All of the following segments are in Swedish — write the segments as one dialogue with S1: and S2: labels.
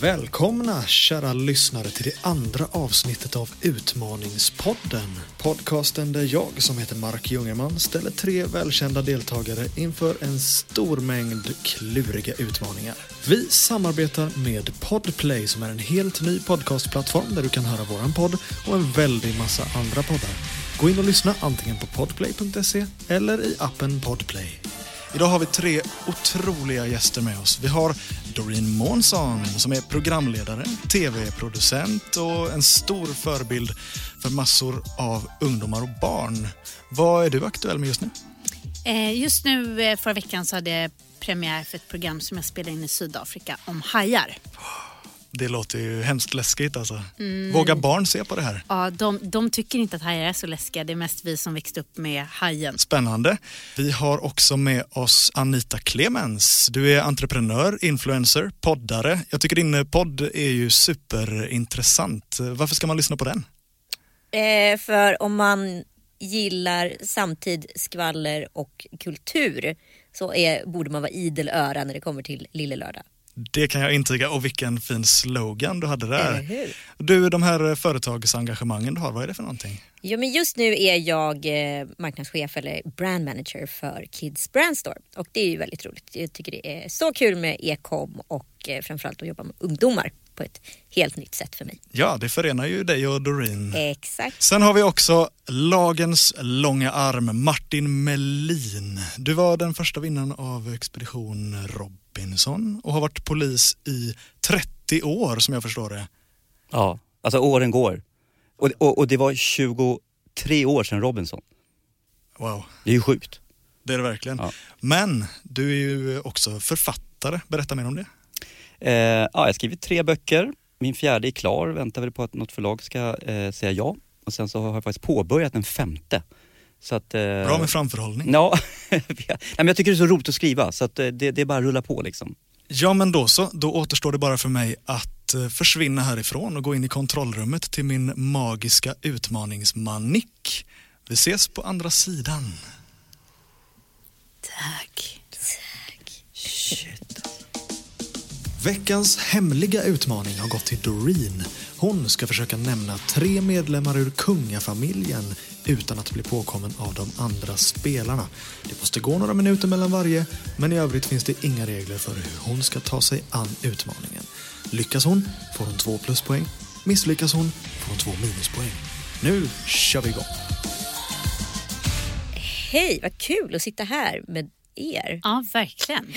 S1: Välkomna kära lyssnare till det andra avsnittet av Utmaningspodden. Podcasten där jag som heter Mark Jungerman ställer tre välkända deltagare inför en stor mängd kluriga utmaningar. Vi samarbetar med Podplay som är en helt ny podcastplattform där du kan höra våran podd och en väldig massa andra poddar. Gå in och lyssna antingen på podplay.se eller i appen Podplay. Idag har vi tre otroliga gäster med oss. Vi har Doreen Månsson som är programledare, tv-producent och en stor förebild för massor av ungdomar och barn. Vad är du aktuell med just nu?
S2: Eh, Just nu eh, förra veckan så hade jag premiär för ett program som jag spelade in i Sydafrika om hajar.
S1: Det låter ju hemskt läskigt alltså. Vågar barn se på det här?
S2: Ja, de, de tycker inte att hajar är så läskiga, det är mest vi som växte upp med hajen.
S1: Spännande. Vi har också med oss Anita Clemens. Du är entreprenör, influencer, poddare. Jag tycker din podd är ju superintressant. Varför ska man lyssna på den?
S3: Eh, för om man gillar samtid, skvaller och kultur så är, borde man vara idel öra när det kommer till Lille Lördag.
S1: Det kan jag intyga och vilken fin slogan du hade
S3: Eller
S1: där.
S3: hur?
S1: Du, de här eh, företagsengagemangen du har, vad är det för någonting?
S3: Ja, men just nu är jag eh, marknadschef eller brand manager för Kids Brandstore och det är ju väldigt roligt. Jag tycker det är så kul med e-com och eh, framförallt att jobba med ungdomar på ett helt nytt sätt för mig.
S1: Ja, det förenar ju dig och Doreen.
S3: Eh. Exakt.
S1: Sen har vi också lagens långa arm, Martin Melin. Du var den första vinnaren av Expedition Robinson och har varit polis i 30 år som jag förstår det.
S4: Ja, alltså åren går. Och, och, och det var 23 år sedan Robinson.
S1: Wow,
S4: Det är ju sjukt.
S1: det är det verkligen.
S4: Ja.
S1: Men du är ju också författare, berätta mer om det.
S4: Eh, ja, jag har skrivit tre böcker. Min fjärde är klar, väntar väl på att något förlag ska eh, säga ja. Och sen så har jag faktiskt påbörjat en femte. Så att, eh,
S1: Bra med framförhållning.
S4: Ja, Nej, men jag tycker det är så roligt att skriva så att eh, det, det är bara att rulla på liksom.
S1: Ja men då så, då återstår det bara för mig att eh, försvinna härifrån och gå in i kontrollrummet till min magiska utmaningsmanik. Vi ses på andra sidan.
S2: Tack.
S1: Veckans hemliga utmaning har gått till Doreen. Hon ska försöka nämna tre medlemmar ur kungafamiljen utan att bli påkommen av de andra spelarna. Det måste gå några minuter mellan varje, men i övrigt finns det inga regler för hur hon ska ta sig an utmaningen. Lyckas hon får hon två pluspoäng. Misslyckas hon får hon två minuspoäng. Nu kör vi igång!
S3: Hej, vad kul att sitta här med er.
S2: Ja, verkligen.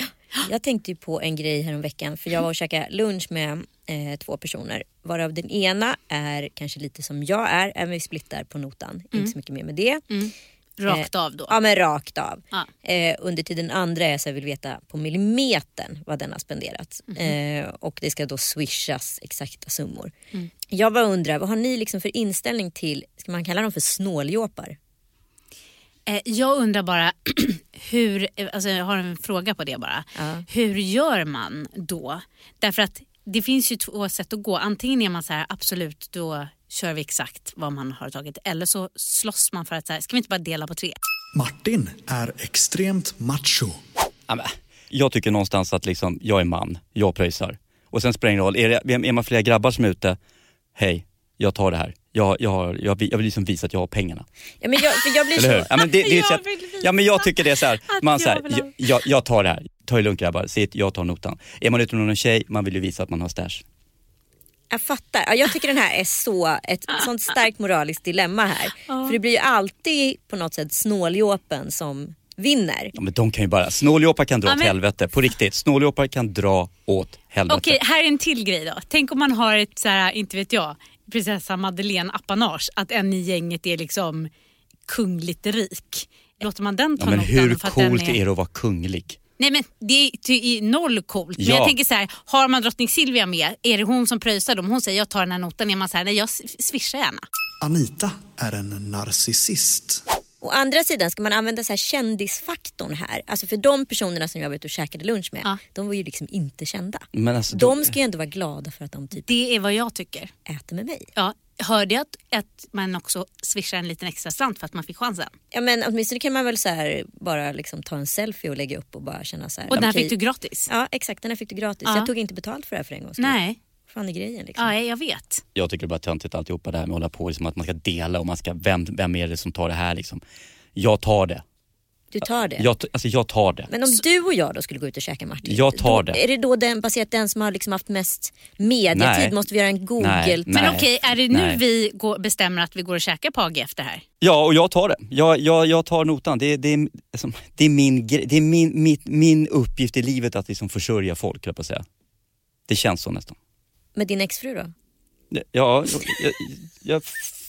S3: Jag tänkte ju på en grej häromveckan för jag var och käkade lunch med eh, två personer varav den ena är kanske lite som jag är, även vi splittar på notan. Inte så mycket mer med det.
S2: Rakt av då.
S3: Ja men rakt av.
S2: Ja.
S3: Eh, under tiden den andra är så jag vill veta på millimetern vad den har spenderat. Eh, och det ska då swishas exakta summor. Jag bara undrar, vad har ni liksom för inställning till, ska man kalla dem för snåljåpar?
S2: Eh, Jag undrar bara, hur, eh, alltså jag har en fråga på det bara.
S3: Ja.
S2: Hur gör man då? Därför att det finns ju två sätt att gå. Antingen är man så här, absolut då kör vi exakt vad man har tagit. Eller så slåss man för att, så här, ska vi inte bara dela på tre?
S1: Martin är extremt macho.
S4: Ja, men, Jag tycker någonstans att liksom, jag är man, jag pröjsar. Och sen spelar det ingen roll, är, det, är man flera grabbar som är ute, hej, jag tar det här. Jag, jag, har- jag, vill- jag vill liksom visa att jag har pengarna.
S3: Ja, men jag, för jag blir
S4: Eller hur?
S3: så,
S4: Ja, men det, det är
S2: Jag
S4: så att,
S2: vill visa
S4: ja, men jag tycker det är så här.
S2: att
S4: Man, så
S2: jag
S4: här
S2: vill ha-
S4: jag, jag, jag tar det här. Ta det lugnt grabbar, sitt, jag tar notan. Är man ute med någon tjej, man vill ju visa att man har stash.
S3: Jag fattar. Ja, jag tycker den här är så, ett sånt starkt moraliskt dilemma här. För det blir ju alltid på något sätt snåljåpen som vinner.
S4: Ja, men de kan ju bara, snåljåpar kan dra
S2: Ja,
S4: åt
S2: men-
S4: helvete, på riktigt. Snåljåpar kan dra åt helvete.
S2: Okej, här är en till grej då. Tänk om man har ett, så här, inte vet jag, prinsessa Madeleine-apanage. Att en i gänget är liksom kungligt rik. Låter man den ta
S4: Ja, men
S2: notan
S4: hur
S2: för att den
S4: coolt är det att vara kunglig?
S2: Nej men det är ty, i noll coolt. Men
S4: Ja.
S2: jag tänker så här, har man drottning Silvia med, är det hon som pröjsar dem? Hon säger jag tar den här notan, är man så här, nej jag s- swishar gärna.
S1: Anita är en narcissist.
S3: Å andra sidan ska man använda så här kändisfaktorn här. Alltså för de personerna som jag var ute och käkade lunch med,
S2: Ja.
S3: de var ju liksom inte kända.
S4: Men alltså, då-
S3: De ska ju ändå vara glada för att de typ
S2: Det är vad jag tycker.
S3: äter med mig.
S2: Ja, Hörde jag att, att man också swishar en liten extra slant för att man fick chansen?
S3: Ja, men åtminstone kan man väl så här, bara liksom ta en selfie och lägga upp och bara känna så här.
S2: Och den här
S3: okej.
S2: fick du gratis?
S3: Ja exakt, den här fick du gratis.
S2: Ja.
S3: Jag tog inte betalt för det här för en gångs skull.
S2: Nej,
S3: fan är grejen liksom?
S2: ja, jag vet.
S4: Jag tycker det är bara töntigt alltihopa det här med att hålla på liksom, att man ska dela och man ska, vem, vem är det som tar det här liksom? Jag tar det.
S3: Du tar det.
S4: Jag, t- alltså jag tar det.
S3: Men om du och jag då skulle gå ut och käka Martin.
S4: Jag tar
S3: då,
S4: det.
S3: Är det då den, baserat den som har liksom haft mest mediatid?
S4: Nej.
S3: Måste vi göra en Google?
S4: Nej.
S2: Men okej, är det nu
S4: Nej.
S2: vi går, bestämmer att vi går och käkar på AG efter det här?
S4: Ja, och jag tar det. Jag, jag, jag tar notan. Det, det, är- liksom, det är, min, gre- det är min, mitt, min uppgift i livet att liksom försörja folk, höll jag på att säga. Det känns så nästan.
S3: Med din exfru då?
S4: Ja, jag, jag, jag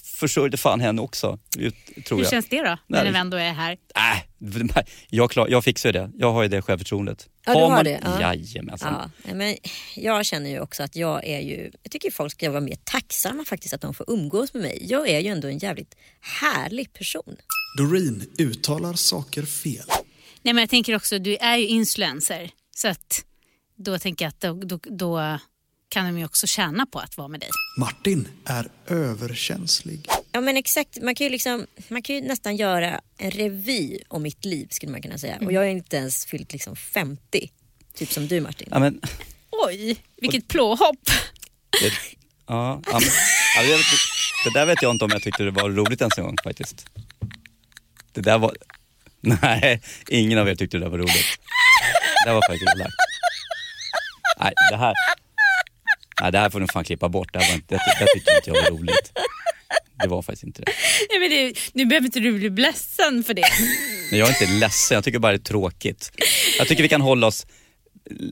S4: försörjde fan henne också, ut- tror
S2: Hur
S4: jag.
S2: känns det då?
S4: Nej.
S2: När vi ändå är här.
S4: Äh, de här- jag, klar, jag fixar ju det. Jag har ju det självförtroendet.
S3: Ja, du har
S4: man,
S3: det, ja.
S4: Jajamensan.
S3: Ja, nej, men jag känner ju också att jag är ju, jag tycker folk ska vara mer tacksamma faktiskt att de får umgås med mig. Jag är ju ändå en jävligt härlig person.
S1: Doreen uttalar saker fel.
S2: Nej men jag tänker också, du är ju influencer. Så att då tänker jag att då, då, då kan de ju också tjäna på att vara med dig.
S1: Martin är överkänslig.
S3: Ja men exakt, man kan ju, liksom, man kan ju nästan göra en revy om mitt liv skulle man kunna säga.
S4: Mm.
S3: Och jag är inte ens fyllt liksom 50, typ som du Martin.
S4: Ja, men,
S2: Oj, vilket plåhopp.
S4: det, ja, ja, men, ja, det, det där vet jag inte om jag tyckte det var roligt ens en gång faktiskt. Det där var... Nej, ingen av er tyckte det där var roligt. Det där var faktiskt elakt. Nej, det här... Nej, det här får ni fan klippa bort. Det, här var inte, det, det tyckte inte jag var roligt. Det var faktiskt inte det.
S2: Nej, men det, nu behöver inte du bli ledsen för det.
S4: Men jag är inte ledsen, jag tycker bara det är tråkigt. Jag tycker vi kan hålla oss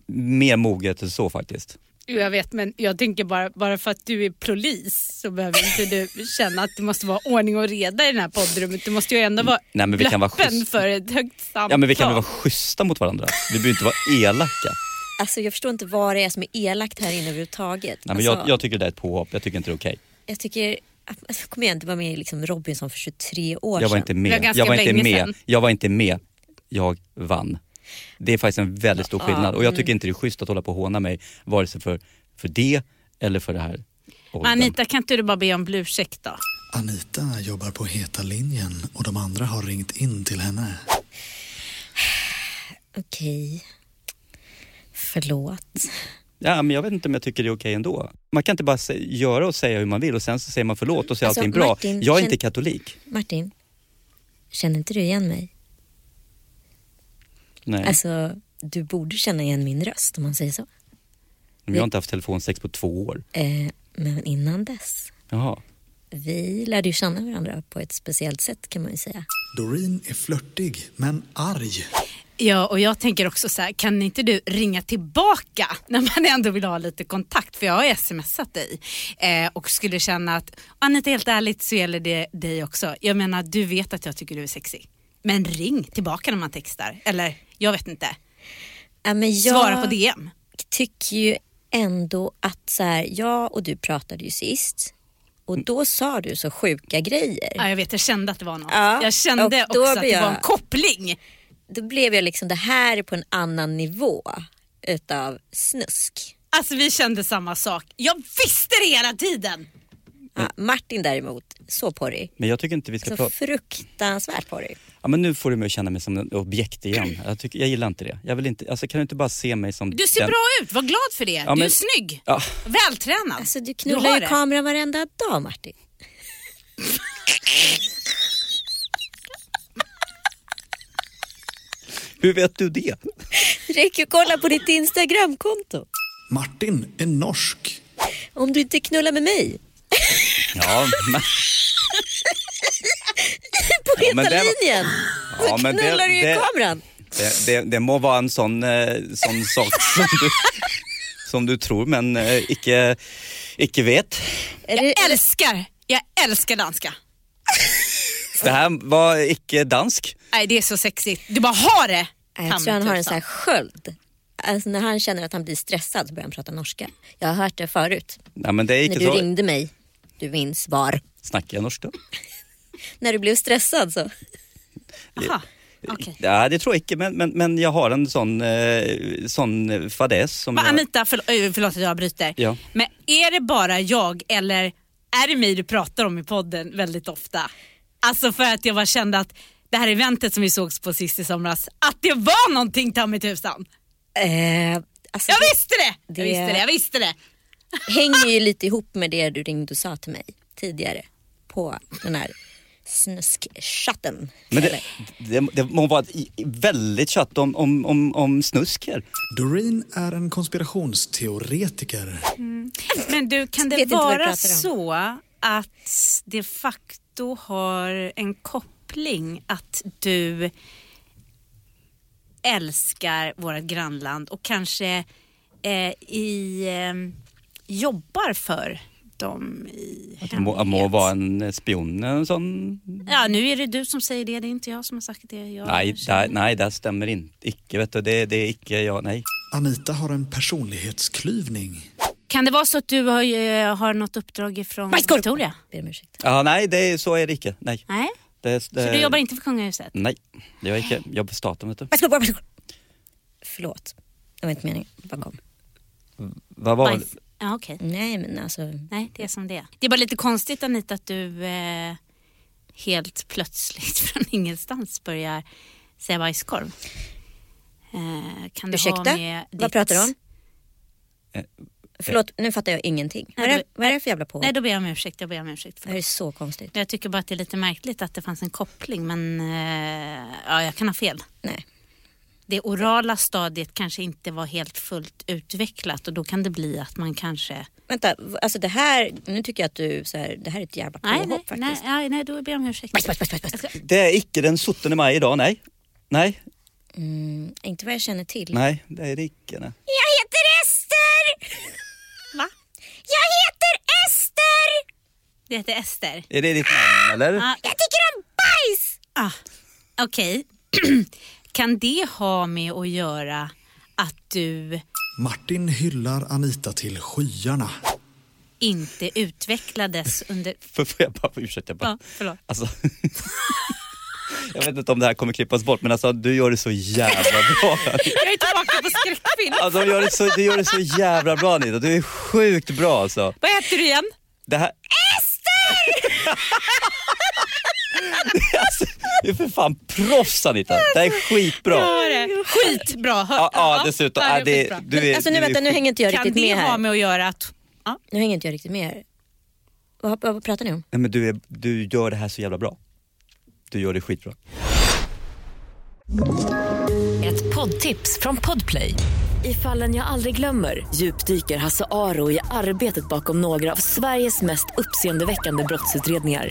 S4: mer moget än så faktiskt.
S2: Jo, Jag vet men jag tänker bara, bara för att du är polis så behöver inte du känna att det måste vara ordning och reda i det här poddrummet. Du måste ju ändå vara
S4: Nej, men vi kan vara
S2: öppen
S4: schysst.
S2: för ett högt samtal.
S4: Ja men vi kan väl vara schyssta mot varandra? Vi behöver inte vara elaka.
S3: Alltså jag förstår inte vad det är som är elakt här inne överhuvudtaget.
S4: Nej, men
S3: alltså,
S4: jag, jag tycker det där är ett påhopp, jag tycker inte det är okej.
S3: jag tycker, att- alltså, kom igen, du var med i liksom Robinson för 23 år
S4: Jag var
S3: sedan.
S4: inte
S2: Det var
S4: med.
S2: ganska
S4: Jag var inte
S2: länge
S4: med.
S2: sedan.
S4: Jag var inte med. Jag vann. Det är faktiskt en väldigt stor skillnad och jag tycker inte det är schysst att hålla på och håna mig vare sig för, för det eller för det här. åldern.
S2: Anita kan inte du bara be om ursäkt då?
S1: Anita jobbar på Heta linjen och de andra har ringt in till henne.
S3: Okej, förlåt.
S4: Ja, men jag vet inte om jag tycker det är okej ändå. Man kan inte bara sä- göra och säga hur man vill och sen så säger man förlåt och så är
S3: Alltså,
S4: allting bra.
S3: Martin,
S4: jag är
S3: känn-
S4: inte katolik.
S3: Martin, känner inte du igen mig?
S4: Nej,
S3: Alltså, du borde känna igen min röst om man säger så.
S4: men jag har inte haft telefonsex på två år.
S3: Eh, men innan dess,
S4: Jaha.
S3: vi lärde ju känna varandra på ett speciellt sätt kan man ju säga.
S1: Doreen är flörtig, men arg.
S2: Ja, och jag tänker också så här, kan inte du ringa tillbaka när man ändå vill ha lite kontakt? För jag har smsat dig eh, och skulle känna att, Anita helt ärligt så gäller det dig också. Jag menar, du vet att jag tycker du är sexig. Men ring tillbaka när man textar, eller jag vet inte.
S3: Ja, men jag
S2: Svara på DM.
S3: tycker ju ändå att så här, jag och du pratade ju sist
S4: Mm.
S3: och då sa du så sjuka grejer.
S2: Ja, jag vet, jag kände att det var något.
S3: Ja,
S2: jag kände
S3: och då
S2: också att
S3: blir
S2: det var
S3: jag-
S2: en koppling.
S3: Då blev jag liksom, det här är på en annan nivå utav snusk.
S2: Alltså vi kände samma sak. Jag visste det hela tiden!
S4: Mm.
S3: Ja, Martin däremot, så porrig.
S4: Men jag tycker inte vi ska
S3: Så
S4: prata...
S3: fruktansvärt porrig.
S4: Ja, men nu får du mig att känna mig som ett objekt igen. Jag, tycker, jag gillar inte det. Jag vill inte, alltså, kan du inte bara se mig som...
S2: Du ser
S4: den-
S2: bra ut, var glad för det.
S4: Ja,
S2: Du är
S4: men-
S2: snygg,
S4: Ja,
S2: vältränad.
S3: Alltså du
S2: har
S3: knullar ju
S2: det.
S3: kameran varenda dag Martin.
S4: hur vet du det?
S3: Det räcker ju att kolla på ditt Instagramkonto.
S1: Martin är norsk.
S3: Om du inte knullar med mig
S4: Ja, men,
S3: på
S4: Ja,
S3: heta
S4: men det var-
S3: linjen
S4: ja,
S3: så
S4: men det-
S3: knullar du ju i
S4: det-
S3: kameran.
S4: det, det, det må vara en sån, eh, sån sak som du, som du tror men eh, icke, icke vet.
S3: Är det,
S2: Jag älskar, jag älskar danska.
S4: Det här var icke dansk.
S2: Nej det är så sexigt. Du bara har det! typ
S3: Nej, jag tror han har en sån här sköld. Alltså när han känner att han blir stressad så börjar han prata norska. Jag har hört det förut.
S4: Nej, men det är
S3: När
S4: icke
S3: du
S4: så.
S3: ringde mig, du minns var.
S4: Snackar jag norska?
S3: När du blev stressad så.
S2: Aha, okej.
S4: Ja, det tror jag icke, men, men, men jag har en sån, eh, sån fadäs som
S2: Men
S4: jag...
S2: Anita, förl- ö, förlåt att jag bryter.
S4: Ja.
S2: Men är det bara jag eller är det mig du pratar om i podden väldigt ofta. Alltså för att jag bara kände att det här eventet som vi sågs på sist i somras, att det var någonting ta mig tusan.
S3: Eh, alltså,
S2: Jag
S3: det
S2: visste det! Jag
S3: Det-
S2: visste det, jag visste det.
S3: hänger ju lite ihop med det du ringde och sa till mig tidigare på den här snuskchatten.
S4: Men det,
S3: Eller-
S4: det, det må vara ett i- väldigt tjatt om, om, om, om snusker.
S1: Doreen är en konspirationsteoretiker.
S2: Men du, kan det
S3: Vet inte vad jag
S2: vara
S3: pratar om.
S2: så att de facto har en koppling att du älskar vårt grannland och kanske eh, i, eh, jobbar för dem i
S4: Att det må, må vara en eh, spion eller en sån.
S2: Ja, nu är det du som säger det, det är inte jag som har sagt det. Jag
S4: Nej, där, nej, det stämmer inte. Icke, vet du. Det, det är icke jag, nej.
S1: Anita har en personlighetsklyvning.
S2: Kan det vara så att du har, eh, har något uppdrag från
S3: Bajskorv!
S2: Victoria?
S3: Ber om ursäkt.
S4: Ja, nej, det, är- så är det icke. Nej.
S2: Nej,
S4: Det, det,
S2: så du jobbar inte för kungahuset?
S4: Nej, det gör jag icke. Jag jobbar för staten, vet du.
S3: Bajskorv, bajskorv, bajskorv. Förlåt, det var inte meningen. Vad kom?
S4: Vad var
S2: Bajs. Ja, okej.
S3: Nej men alltså,
S2: Nej, det är som det är. Det är bara lite konstigt Anita att du eh, helt plötsligt från ingenstans börjar säga bajskorv. Eh, kan du
S3: ursäkta?
S2: ha med
S3: Vad pratar du om?
S4: Eh,
S3: Förlåt, nu fattar jag ingenting.
S2: Nej,
S3: vad, är,
S2: det-
S3: det- vad är det för jävla påhopp?
S2: Nej, då ber jag om ursäkt. Jag ber om ursäkt.
S3: Det här
S2: Förlåt.
S3: är så konstigt.
S2: Jag tycker bara att det är lite märkligt att det fanns en koppling men eh, ja, jag kan ha fel.
S3: Nej.
S2: Det orala stadiet kanske inte var helt fullt utvecklat och då kan det bli att man kanske...
S3: Vänta, v- alltså det här, nu tycker jag att du, så här, det här är ett jävla
S2: Nej,
S3: påhopp
S2: nej,
S3: faktiskt.
S2: nej, nej, nej, då ber jag om ursäkt.
S3: Bajs, bajs, bajs, bajs, bajs.
S4: det? Det är icke den 17 maj idag, nej. Nej,
S3: Mm, inte vad jag känner till.
S4: nej, det är det icke. Nej.
S3: Jag heter Ester!
S2: Va?
S3: Jag heter Ester!
S2: Det heter Ester.
S4: Är det ditt namn, eller?
S2: Ja,
S3: Jag tycker om bajs!
S2: Ah, Okej. kan det ha med att göra att du
S1: Martin hyllar Anita till skyarna.
S2: inte utvecklades under...
S4: För, får jag bara, ursäkta, jag bara.
S2: Ja, förlåt.
S4: Alltså, jag vet inte om det här kommer klippas bort men alltså du gör det så jävla bra.
S2: Jag är tillbaka på skräckfilm.
S4: Alltså, du, gör det så, du gör det så jävla bra Anita, du är sjukt bra alltså.
S2: Vad heter du igen?
S4: Det här... Ester! alltså, du är för fan proffs Anita, det här är skitbra.
S2: Vad var det? Skitbra. Hör.
S4: Ja, ja dessutom. Ja, det,
S2: skitbra.
S4: du är,
S3: alltså nu
S4: du är
S3: vänta, nu hänger inte jag
S2: kan
S3: riktigt
S2: det
S3: med
S2: ha
S3: här.
S2: med att göra att... Ja.
S3: Nu hänger inte jag riktigt med här. Vad, vad, vad pratar ni om?
S4: Nej men du, är, du gör det här så jävla bra. Du gör det skitbra.
S5: Ett poddtips från Podplay. I fallen jag aldrig glömmer djupdyker Hasse Aro i arbetet bakom några av Sveriges mest uppseendeväckande brottsutredningar.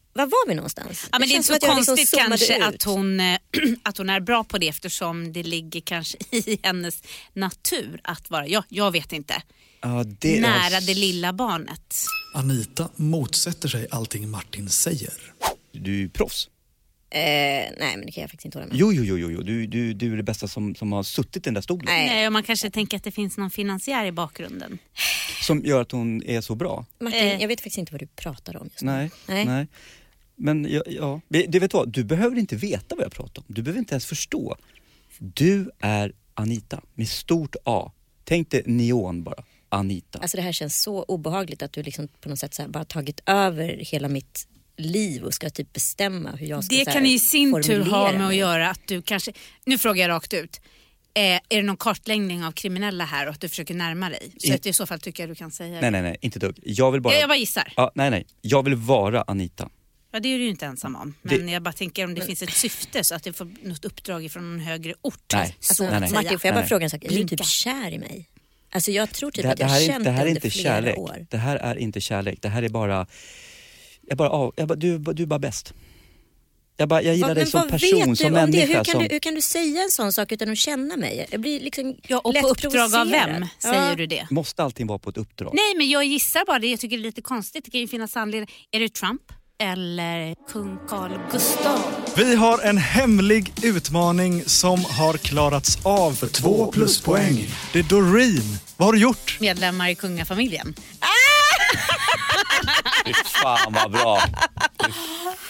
S3: var var vi någonstans?
S2: Ja, men det är
S3: känns
S2: inte
S3: som
S2: så
S3: att jag liksom
S2: konstigt
S3: zoomade
S2: kanske
S3: ut.
S2: att hon, eh, att hon är bra på det eftersom det ligger kanske i hennes natur att vara, ja, jag vet inte,
S4: Ja, det,
S2: nära det lilla barnet.
S1: Anita motsätter sig allting Martin säger.
S4: Du är ju proffs.
S3: Eh, nej men det kan jag faktiskt inte hålla med om.
S4: Jo, jo, jo, jo, jo. Du, du, du är det bästa som, som har suttit i den där stolen.
S3: Nej.
S2: Nej, och man kanske tänker att det finns någon finansiär i bakgrunden.
S4: Som gör att hon är så bra.
S3: Martin,
S2: Eh.
S3: jag vet faktiskt inte vad du pratar om just nu.
S4: Nej.
S3: Nej.
S4: Men ja, ja. Vi- Du vet vad, du behöver inte veta vad jag pratar om. Du behöver inte ens förstå. Du är Anita med stort A. Tänk dig neon bara. Anita.
S3: Alltså det här känns så obehagligt att du liksom på något sätt så här bara tagit över hela mitt liv och ska typ bestämma hur jag ska
S2: Det
S3: så här
S2: kan i sin tur ha
S3: formulera
S2: med att
S3: mig.
S2: göra att du kanske, nu frågar jag rakt ut, eh, är det någon kartläggning av kriminella här och att du försöker närma dig? Så
S4: I-
S2: att i så fall tycker jag du kan säga det.
S4: Nej, nej, nej, inte dugg. Jag vill bara...
S2: Jag, jag bara gissar.
S4: Ja, nej, nej. Jag vill vara Anita.
S2: Ja, det är du ju inte ensam om. Men
S4: Det-
S2: jag bara tänker om det finns ett syfte så att du får något uppdrag från någon högre ort.
S4: Nej.
S2: Så
S3: Alltså,
S2: att
S4: Nej, nej.
S2: säga.
S3: Martin får jag bara
S4: Nej.
S3: fråga en sak, är du
S2: Blinka.
S3: typ kär i mig? Alltså jag tror typ
S4: det,
S3: att jag
S4: det här
S3: har
S4: är,
S3: känt
S4: inte- det här är
S3: under
S4: inte
S3: flera
S4: kärlek.
S3: år.
S4: Det här är inte kärlek. Det här är bara... Jag bara, av- jag bara du, du är bara bäst. Jag, bara, jag gillar
S3: Vad-
S4: dig
S3: men
S4: som
S3: vad
S4: person,
S3: vet du
S4: som
S3: om det?
S4: människa.
S3: Hur kan,
S4: som...
S3: du, hur kan du säga en sån sak utan att känna mig? Jag blir liksom
S2: Ja, och
S3: lätt
S2: på uppdrag av
S3: provocerad.
S2: vem
S3: Ja.
S2: säger du det?
S4: Måste allting vara på ett uppdrag?
S2: Nej, men jag gissar bara det. Jag tycker det är lite konstigt. Det kan ju finnas anledningar. Är det Trump? eller kung Carl Gustaf.
S1: Vi har en hemlig utmaning som har klarats av. För två pluspoäng. Det är Doreen. Vad har du gjort?
S2: Medlemmar i kungafamiljen.
S4: Fy fan vad bra. Fy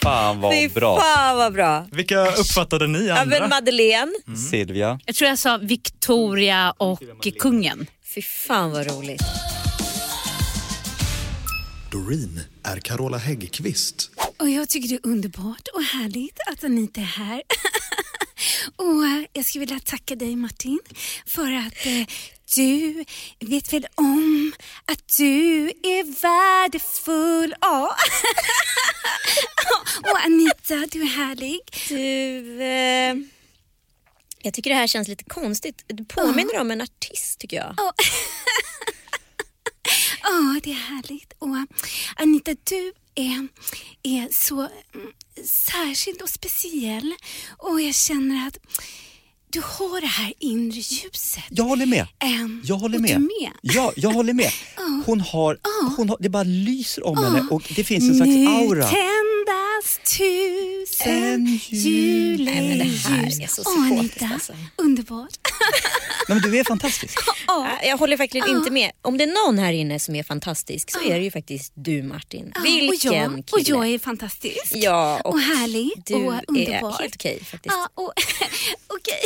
S4: fan
S3: Fy
S4: vad bra. Mm.
S3: fan vad bra.
S1: Vilka uppfattade ni Mm.
S3: Ja,
S1: andra?
S3: men Madeleine.
S4: Silvia.
S2: Jag tror jag sa Victoria och kungen.
S3: Fy fan vad roligt.
S1: Doreen är Carola Häggkvist.
S2: Och jag tycker det är underbart och härligt att Anita är här. och eh, jag skulle vilja tacka dig Martin för att eh, du vet väl om att du är värdefull. Ja. och Anita, du är härlig.
S3: Du, eh, jag tycker det här känns lite konstigt. Du påminner
S2: Ah.
S3: om en artist tycker jag.
S2: Ja, det är härligt. Och eh, Anita, du är, är så mm, särskild och speciell och jag känner att du har det här inre ljuset.
S4: Jag håller med.
S2: Ehm,
S4: Jag håller
S2: och
S4: med.
S2: Du med.
S4: Ja, jag håller med. Hon har, hon har, det bara lyser om henne och det finns en slags
S2: nu
S4: aura.
S2: tändas tusen
S4: En jul.
S2: juleljus.
S3: Nej, men det här är så
S2: Åh,
S3: psykotiskt,
S2: Anita,
S3: alltså.
S2: underbart.
S4: Nej, men du är fantastisk.
S3: Äh, Jag håller verkligen inte
S2: Ah.
S3: med. Om det är någon här inne som är fantastisk så är det ju faktiskt du Martin. Vilken
S2: Ah, och jag,
S3: kille.
S2: och jag är fantastisk.
S3: Ja, och
S2: och, härlig
S3: du
S2: och
S3: är
S2: underbar. Ah.
S3: helt okej faktiskt.
S2: Ja, och, okej.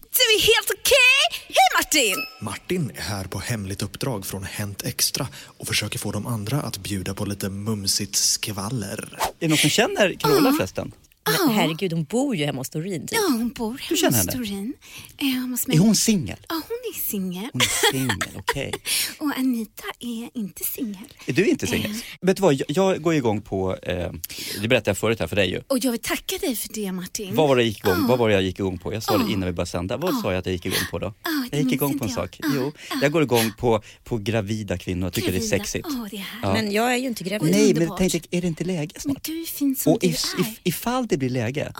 S2: Du är helt okej. Hej Martin!
S1: Martin är här på hemligt uppdrag från Hänt Extra och försöker få de andra att bjuda på lite mumsigt skvaller.
S4: Är det någon som känner Carola förresten?
S3: Men herregud, hon bor ju hemma hos Doreen. Typ.
S2: Ja, hon bor hemma
S4: känner
S2: hos
S4: henne?
S2: Doreen. Eh, hos mig.
S4: Är hon singel?
S2: Ja, hon är singel.
S4: Hon är singel, okej.
S2: Och Anita är inte singel.
S4: Är du inte singel? Vet du vad, jag, jag går igång på, eh, det berättade jag förut här för dig ju.
S2: Och jag vill tacka dig för det Martin.
S4: Vad var det jag gick igång, vad var det jag gick igång på? Jag sa det innan vi började sända. Vad sa jag att jag gick igång på då?
S2: Ah. det
S4: jag gick
S2: minns
S4: igång
S2: inte
S4: på en
S2: jag. Ah,
S4: sak. Jo, jag går igång på, på gravida kvinnor. Jag tycker det är
S2: Gravida.
S4: sexigt.
S2: Åh, det är härligt.
S3: Men jag är ju inte gravid.
S4: Nej, men
S2: underbart.
S4: tänk, är det inte läge snart?
S2: Men du är fin som
S4: Och
S2: du
S4: if,
S2: är. Ah.
S4: if, ifall det blir läge,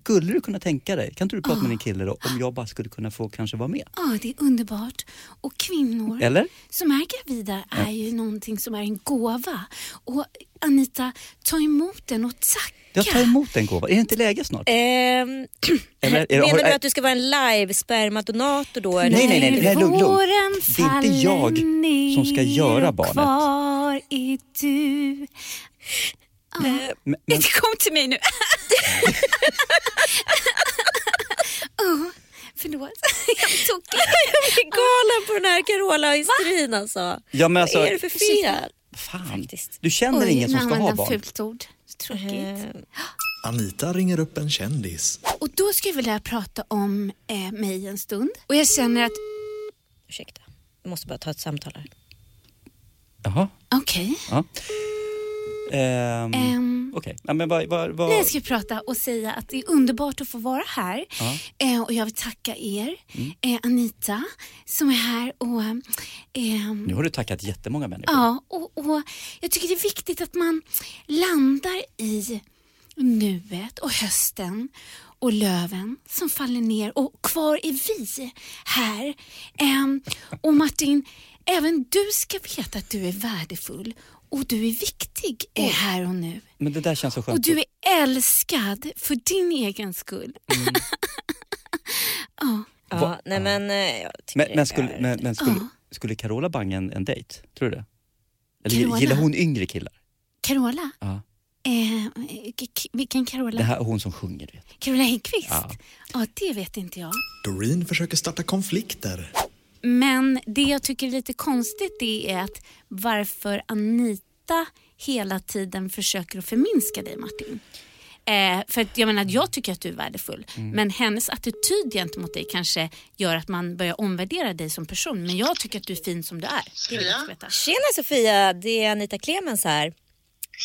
S4: skulle du kunna tänka dig, kan inte du prata med din kille då, om jag bara skulle kunna få kanske vara med?
S2: Ja, det är underbart. Och kvinnor
S4: Eller?
S2: som är gravida är ju någonting som är en gåva. Och Anita, ta emot den och tacka.
S4: Jag tar emot den gåvan, är det inte läge snart?
S2: Eh,
S3: Ehm,
S4: Eller, är det- har-
S3: menar du
S4: är-
S3: att du ska vara en live spermadonator då? eller?
S4: Nej, nej, nej, nej, lugn, lugn.
S2: Våren
S4: Det är inte jag
S2: faller
S4: som ska göra
S2: ner och
S4: barnet.
S2: Kvar är du.
S4: men, men,
S2: Inte kom till mig nu. oh, förlåt, jag är tokig.
S3: Jag blir galen på den här Carola och hysterin alltså.
S4: ja, men alltså,
S3: Vad är det för fel?
S4: fan,
S3: Faktiskt.
S4: du känner
S2: Oj,
S4: ingen som
S2: nu
S4: ska ha
S2: använde han
S4: barn. Eh.
S2: fult ord. Tråkigt.
S3: Ehm,
S1: Anita ringer upp en kändis.
S2: Och då skulle jag vilja prata om eh, mig en stund. Och jag känner att,
S3: Ursäkta, jag måste bara ta ett samtal här.
S4: Jaha,
S2: okej.
S4: ja. Ehm,
S2: Ehm.
S4: Okej, ja, men vad... vad, vad
S2: Nej, Jag ska prata och säga att det är underbart att få vara här. Eh, och jag vill tacka er, eh, Anita, som är här. Och, ehm,
S4: Nu har du tackat jättemånga människor.
S2: ja, och, och jag tycker det är viktigt att man landar i nuet och hösten och löven som faller ner och kvar är vi här. Ehm, och Martin, även du ska veta att du är värdefull och du är viktig eh, här och nu.
S4: Men det där känns så skönt.
S2: Och du är älskad för din egen skull.
S3: Ja, nej, men, eh, jag tycker
S4: men, men,
S3: det
S4: skulle,
S3: är-
S4: men, men skulle, skulle Carola banga en, en dejt? Tror du det? Eller
S2: Carola?
S4: gillar hon yngre killar?
S2: Carola,
S4: Ja.
S2: eh, k- k- vilken Carola?
S4: Det här, hon som sjunger, du vet.
S2: Carola Häggkvist?
S4: Ja.
S2: Ja. det vet inte jag.
S1: Doreen försöker starta konflikter.
S2: Men det jag tycker är lite konstigt det är att varför Anita hela tiden försöker att förminska dig Martin. Eh, för att jag menar, jag tycker att du är värdefull.
S4: Mm.
S2: Men hennes attityd gentemot dig kanske gör att man börjar omvärdera dig som person. Men jag tycker att du är fin som du är. Det vill jag veta.
S3: Tjena Sofia, det är Anita Clemens här.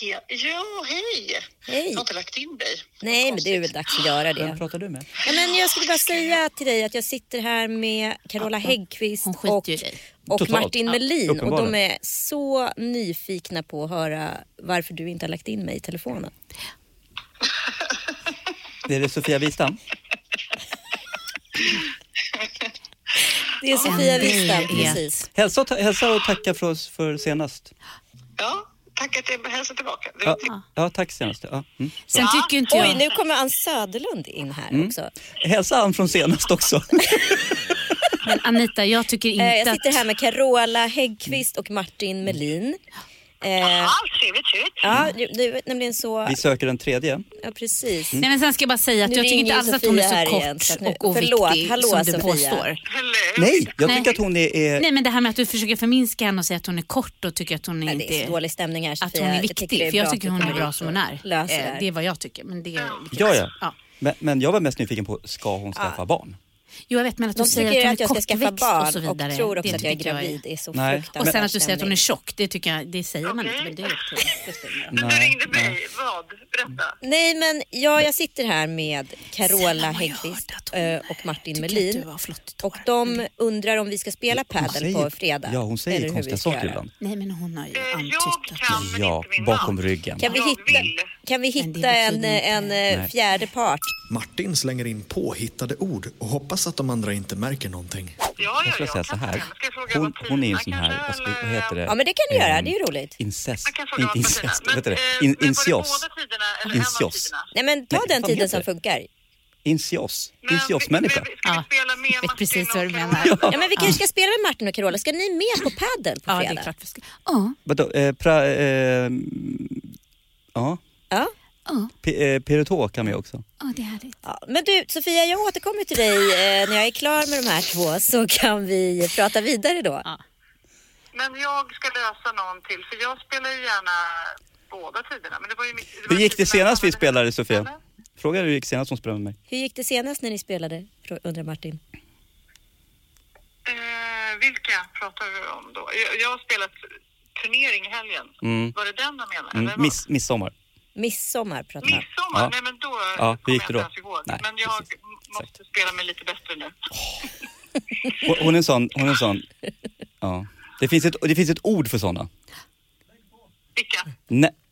S6: Ja, ja hej.
S3: Hej.
S6: Jag har inte lagt in dig.
S3: Nej, men det är väl dags att göra det.
S4: Vem pratar du med?
S3: Nej, men jag skulle bara säga till dig att jag sitter här med Carola Häggkvist
S2: Hon skiter
S3: och,
S2: ju i dig.
S3: och
S4: Totalt.
S3: Martin
S4: Ja,
S3: Melin och de
S4: uppenbarligen.
S3: är så nyfikna på att höra varför du inte har lagt in mig i telefonen.
S4: Är det Sofia Wistam?
S3: Det är Sofia
S2: det
S3: Wistam,
S2: är-
S3: precis.
S4: Hälsa och, ta- hälsa och tacka för oss för senast.
S6: Ja, tack tack att jag hälsade tillbaka. Det,
S4: Ja,
S6: det,
S4: ja tack senast. Ja. Mm.
S2: Sen tycker ju inte
S3: Oj,
S2: jag...
S3: nu kommer Ann Söderlund in här också.
S4: Hälsa han från senast också.
S2: Men Anita, jag tycker inte
S3: Eh, jag sitter
S2: att...
S3: här med Carola Häggkvist och Martin Melin. Eh,
S6: ja, trevligt ut.
S3: ja, ju- det är nämligen så...
S4: Vi Mm. söker en tredje.
S3: Ja, precis.
S2: Nej, men sen ska jag bara säga att
S3: Nu
S2: jag tycker
S3: ringer
S2: inte alls att
S3: Sofia
S2: hon är så
S3: här
S2: kort
S3: igen, så att-
S2: och oviktig
S3: Förlåt, hallå,
S2: som du
S3: Sofia.
S2: påstår.
S6: Eller,
S4: Nej, jag
S2: Nej.
S4: tycker att hon är... är
S2: Nej, men det här med att du försöker förminska henne och säga att hon är kort och tycker att hon är
S3: Nej,
S2: inte...
S3: det är så dålig stämning här, Sofia.
S2: att hon är
S3: Jag
S2: viktig,
S3: tycker det
S2: för jag
S3: bra
S2: tycker
S3: att
S2: hon
S3: du
S2: är bra som hon är.
S3: Löser det
S2: Eh,
S3: här.
S2: det är vad jag tycker. Men det är
S4: ja, ja.
S2: Ja.
S4: Men, men jag var mest nyfiken på, ska hon skaffa barn?
S2: Jo, jag vet, men att du
S3: De
S2: säger att hon
S3: tycker
S2: är
S3: att jag ska skaffa
S2: kortväxt och så
S3: barn och,
S2: vidare.
S3: tror också
S2: det
S3: att jag är
S2: tycker
S3: gravid. Det är så
S4: Nej.
S3: fruktansvärt
S2: Och sen att du säger att hon är
S3: stämning.
S2: tjock, det tycker jag, det säger man inte.
S6: Okej.
S2: Men det är upp till det spelar ingen roll.
S6: men du ringde mig. Vad? Berätta.
S3: Nej men ja, jag sitter här med
S2: Sällan har
S3: Carola
S2: jag
S3: Häggkvist
S2: hört att hon,
S3: eh, och Martin
S2: tycker att
S3: Melin.
S2: du har flott Mm. tår.
S3: Och de undrar om vi ska spela
S4: Hon
S3: padel på fredag.
S4: Ja, hon säger
S3: Eller hur
S4: konstiga
S3: vi ska
S4: saker
S3: göra.
S4: ibland.
S2: Nej, men hon har ju
S6: Eh,
S2: antytt
S6: jag
S2: att...
S6: kan, men
S4: Ja,
S6: inte min
S4: bakom
S6: man.
S4: ryggen.
S3: Kan vi
S6: Jag vill.
S3: hitta, kan vi
S2: Men det
S3: hitta en,
S2: betyder inte-
S3: en eh,
S4: Nej.
S3: fjärde part?
S1: Martin slänger in påhittade ord och hoppas att de andra inte märker någonting.
S6: Ja, ja,
S4: Jag skulle
S6: ja,
S4: säga så
S6: kan
S4: här.
S6: fråga. Ska jag fråga
S4: Hon,
S6: vad
S4: hon är ju en sån
S6: Tina
S4: här,
S6: kanske,
S4: vad ska- vad
S6: eller-
S4: heter det?
S3: Ja men det kan du göra,
S4: Ehm,
S3: det är ju roligt.
S4: Incest,
S6: Man kan fråga
S4: inte
S6: vad partierna.
S4: incest, vad
S6: Men,
S4: heter
S6: eh,
S4: det? In,
S6: men var det
S4: incios.
S6: båda tiderna eller en av
S4: Incios.
S6: tiderna?
S3: Nej men ta
S4: Nej,
S3: den
S4: fan
S3: tiden
S4: heter
S3: som
S4: det?
S3: funkar.
S4: Incios.
S6: Men vi-
S4: Incios-människa.
S6: vi- Ska
S2: Ja,
S6: vi spela med
S2: jag vet
S6: Martin
S2: precis
S6: och
S2: vad du
S6: Carola?
S2: menar.
S3: Ja, men vi kanske ska spela med Martin och Carola. Ska ni med på padel på
S2: Ja,
S3: fredag?
S2: det är klart vi ska. Ja,
S4: Vadå, eh, pra, eh, ja,
S3: Ja.
S2: ja,
S4: P- eh, Peretå kan vi också.
S2: ja, det är härligt.
S3: Ja, men du Sofia, jag återkommer till dig eh, när jag är klar med de här två så kan vi prata vidare då.
S6: Men jag ska lösa någon till, för jag spelar ju gärna båda tiderna. Men det var ju mitt, var
S4: Hur gick det
S6: tiderna
S4: senast vi
S6: som-
S4: spelade Sofia?
S6: Eller?
S4: Fråga hur det gick senast hon spelade med mig.
S3: Hur gick det senast när ni spelade? Frå- undrar Martin.
S6: Eh, vilka pratar vi om då? Jag, jag har spelat turnering i helgen.
S4: Mm.
S6: Var det den de menade? eller
S4: Mm,
S6: vad?
S4: miss, midsommar.
S3: Midsommar pratar man.
S6: Midsommar?
S4: Ja.
S6: Nej men då
S4: hur
S6: kommer
S4: gick det då?
S6: jag inte ens ihåg.
S4: Nej,
S6: men jag
S4: precis.
S6: m- måste spela mig lite bättre nu.
S4: Hon, hon är en sån, hon är en sån. Ja. Det finns ett, det finns ett ord för såna.
S6: Vilka?
S4: Nej.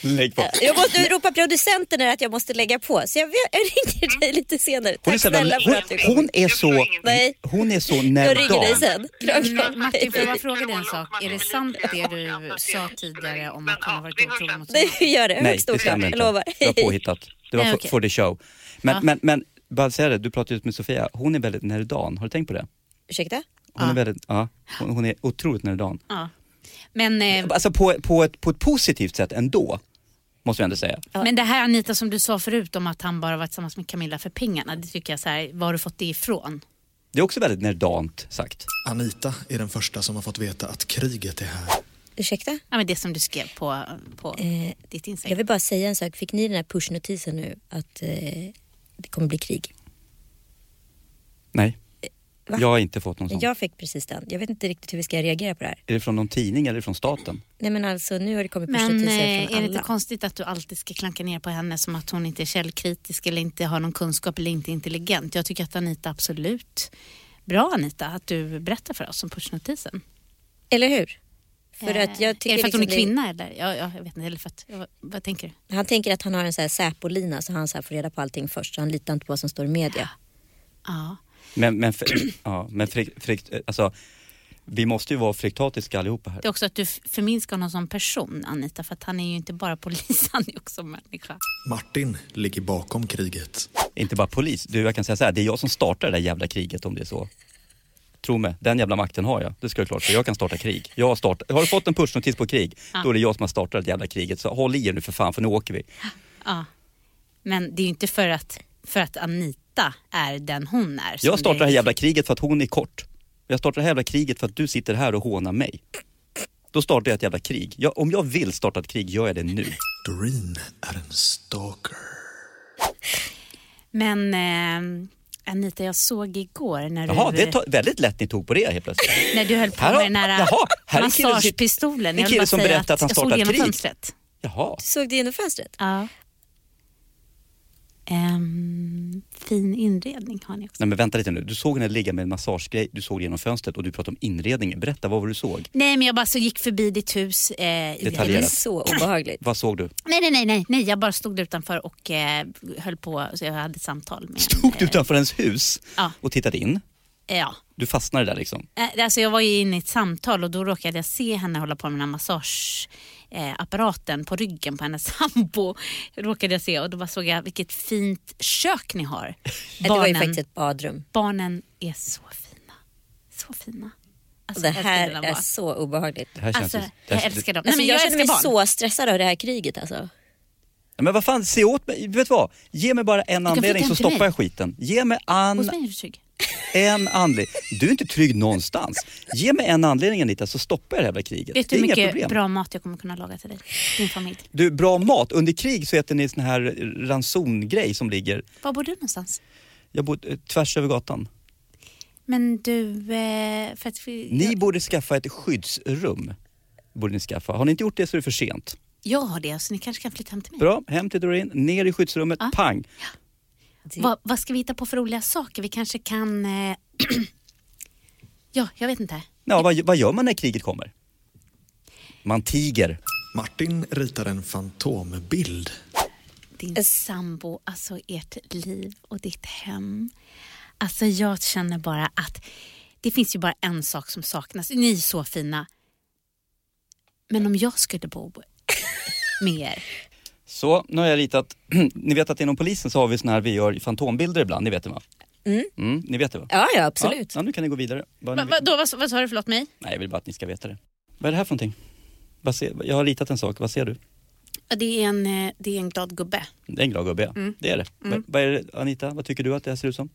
S4: Lägg på.
S3: Jag måste ropa producenten här att jag måste lägga på så jag, jag ringer dig lite senare.
S4: Hon är,
S3: Tack
S4: så jävla,
S3: snälla för att du
S4: hon, hon
S3: kom.
S4: är
S6: Jag
S4: så,
S6: förstår ingenting.
S3: Nej.
S4: hon är så
S3: Jag ringer dig
S4: nervdam.
S3: sen. Klart.
S2: Men Martin, får jag bara fråga dig en
S6: Carola och
S2: sak? Är det
S6: Martin
S2: sant
S6: Melin.
S2: det du
S6: Ja,
S2: sa
S6: det-
S2: tidigare om
S6: Men,
S2: att hon
S6: ja,
S2: har varit
S6: vi hörs
S2: otrogen
S6: sen.
S2: mot sin
S3: Nej, vi gör det.
S4: Nej,
S3: Högst
S4: det
S3: oklart,
S4: stämmer
S3: jag
S4: inte.
S3: lovar.
S4: Det var påhittat. Det var
S2: Nej,
S4: för,
S2: okej.
S4: for the show. Men,
S2: Ja.
S4: men, men bara säga det, du pratade just med Sofia, hon är väldigt nerdan. Har du tänkt på det?
S3: Ursäkta?
S4: Hon är väldigt, ja, hon, hon är otroligt nerdan.
S2: Ja. Men, eh,
S4: Alltså på, på, ett, på ett positivt sätt ändå, måste jag ändå säga.
S2: men det här Anita som du sa förut om att han bara var tillsammans med Camilla för pengarna. Det tycker jag så här, var har du fått det ifrån?
S4: Det är också väldigt nerdant sagt.
S1: Anita är den första som har fått veta att kriget är här.
S3: Ursäkta?
S2: Ja, men det som du skrev på, på
S3: Eh,
S2: ditt
S3: Jag
S2: Instagram.
S3: vill bara säga en sak. Fick ni den här pushnotisen nu att eh, det kommer bli krig?
S4: Nej,
S3: Va?
S4: jag har inte fått någon sån.
S3: Jag fick precis den. Jag vet inte riktigt hur vi ska reagera på det här.
S4: Är det från någon tidning eller från staten?
S3: Nej men alltså nu har det kommit
S2: Men
S3: pushnotiser
S2: eh,
S3: från
S2: är det inte
S3: alla.
S2: konstigt att du alltid ska klanka ner på henne som att hon inte är källkritisk eller inte har någon kunskap eller inte är intelligent? Jag tycker att Anita absolut, bra Anita, att du berättar för oss om pushnotisen.
S3: Eller hur? För
S2: Eh,
S3: att jag tycker
S2: är det för att hon är
S3: liksom det-
S2: kvinna eller? Ja, ja, jag vet inte. Eller för att, vad, vad tänker du?
S3: Han tänker att han har en så här Säpo-lina så han så här får reda på allting först. Så han litar inte på vad som står i media.
S2: Ja.
S4: Men, men, för, ja, men frikt, frikt, alltså, vi måste ju vara friktatiska allihopa här.
S2: Det är också att du f- förminskar honom som person Anita, för att han är ju inte bara polis, han är också människa.
S1: Martin ligger bakom kriget.
S4: Inte bara polis. Du, jag kan säga så här, det är jag som startar det där jävla kriget om det är så. Tro mig, den jävla makten har jag. Det ska du klart för. Jag kan starta krig. Jag har, startat, har du fått en pushnotis på krig, då är det jag som har startat det jävla kriget. Så håll i er nu för fan, för nu åker vi.
S2: Ja. Men det är ju inte för att, för att Anita är den hon är. som
S4: Jag startar det här
S2: är-
S4: jävla kriget för att hon är kort. Jag startar det här jävla kriget för att du sitter här och hånar mig. Då startar jag ett jävla krig. Jag, om jag vill starta ett krig gör jag det nu.
S1: Doreen är en stalker.
S2: Men eh, Anita, jag såg igår när du,
S4: Jaha, det är väldigt lätt ni tog på det helt plötsligt.
S2: när du höll på
S4: Här har-
S2: med den här
S4: Jaha, här är en kille som-
S2: massagepistolen.
S4: en
S2: Jag vill
S4: kille
S2: bara
S4: som
S2: säga
S4: berättar att han
S2: jag såg
S4: startar
S2: genom
S4: krig.
S2: fönstret.
S4: Jaha.
S3: Såg du genom fönstret?
S2: Ja. Ehm, fin inredning har ni också.
S4: Nej men vänta lite nu, du såg henne ligga med en massagegrej, du såg det genom fönstret och du pratade om inredningen. Berätta, vad var det du såg?
S2: Nej, men jag bara så gick förbi ditt hus. Eh, i
S3: Det är
S4: Detaljerat.
S3: så obehagligt.
S4: Vad såg du?
S2: Nej, nej, nej, nej, nej, jag bara stod där utanför och eh, höll på, så jag hade ett samtal med
S4: Stod du
S2: eh,
S4: utanför hennes hus
S2: Ja.
S4: och tittade in?
S2: Ja,
S4: Du Du fastnade där liksom.
S2: Eh, Alltså jag var ju inne i ett samtal och då råkade jag se henne hålla på med den här massageapparaten eh, på ryggen på hennes sambo. Råkade jag se och då bara såg jag vilket fint kök ni har. Eh,
S3: Det var ju faktiskt ett badrum.
S2: barnen är så fina. Så fina.
S3: Och
S2: Alltså,
S3: det
S2: jag älskar
S3: här
S2: dina
S3: är
S2: barn.
S3: så obehagligt.
S4: Det här känns
S2: Alltså,
S4: ju- det här,
S2: jag älskar dem. Nej,
S3: Alltså,
S2: men
S3: jag,
S2: jag,
S3: känner mig
S2: älskar barn.
S3: så stressad av det här kriget alltså.
S4: Men vad fan, se åt mig. Vet du vad? Ge mig bara en
S2: kan
S4: anledning
S2: flytta
S4: så
S2: hem till
S4: stoppar jag
S2: mig.
S4: skiten. Ge mig
S2: Hos
S4: an,
S2: mig är du trygg.
S4: en anledning. Du är inte trygg någonstans. Ge mig en anledning Anita så stoppar jag det här jävla kriget.
S2: Vet
S4: det
S2: du
S4: är
S2: hur
S4: inga
S2: typ mycket
S4: problem.
S2: bra mat jag kommer kunna laga till dig? Din familj.
S4: Du, bra mat. Under krig så äter ni sån här ransongrej som ligger
S2: Var bor du någonstans?
S4: jag bor, eh, tvärs över gatan.
S2: Men du, eh, för att vi,
S4: Ni
S2: jag,
S4: borde skaffa ett skyddsrum. Borde ni skaffa. Har ni inte gjort det så är det för sent.
S2: jag har det så ni kanske kan flytta hem till mig.
S4: Bra, hem till Doreen, ner i skyddsrummet,
S2: Ja.
S4: pang.
S2: Vad, vad ska vi hitta på för roliga saker? Vi kanske kan... Eh, ja, jag vet inte.
S4: Ja, vad, vad gör man när kriget kommer? Man tiger.
S1: Martin ritar en fantombild.
S2: Din sambo, alltså ert liv och ditt hem. Alltså jag känner bara att det finns ju bara en sak som saknas. Ni är så fina. Men om jag skulle bo med er.
S4: Så, nu har jag ritat. ni vet att inom polisen så har vi såna här, vi gör fantombilder ibland, ni vet det va? Mm. ni vet det va?
S3: Ja, ja absolut.
S4: Ja, ja, nu kan ni gå vidare. Vad ni
S2: Va,
S4: vill.
S2: vadå, vad, vad sa du? Förlåt mig.
S4: Nej, jag vill bara att ni ska veta det. Vad är det här för någonting? Vad ser, jag har ritat en sak, vad ser du?
S2: Ja, Det är en, eh, det är en glad gubbe.
S4: Det är en glad gubbe, ja. Det är det. Vad, vad är det. Anita, vad tycker du att det här ser ut som?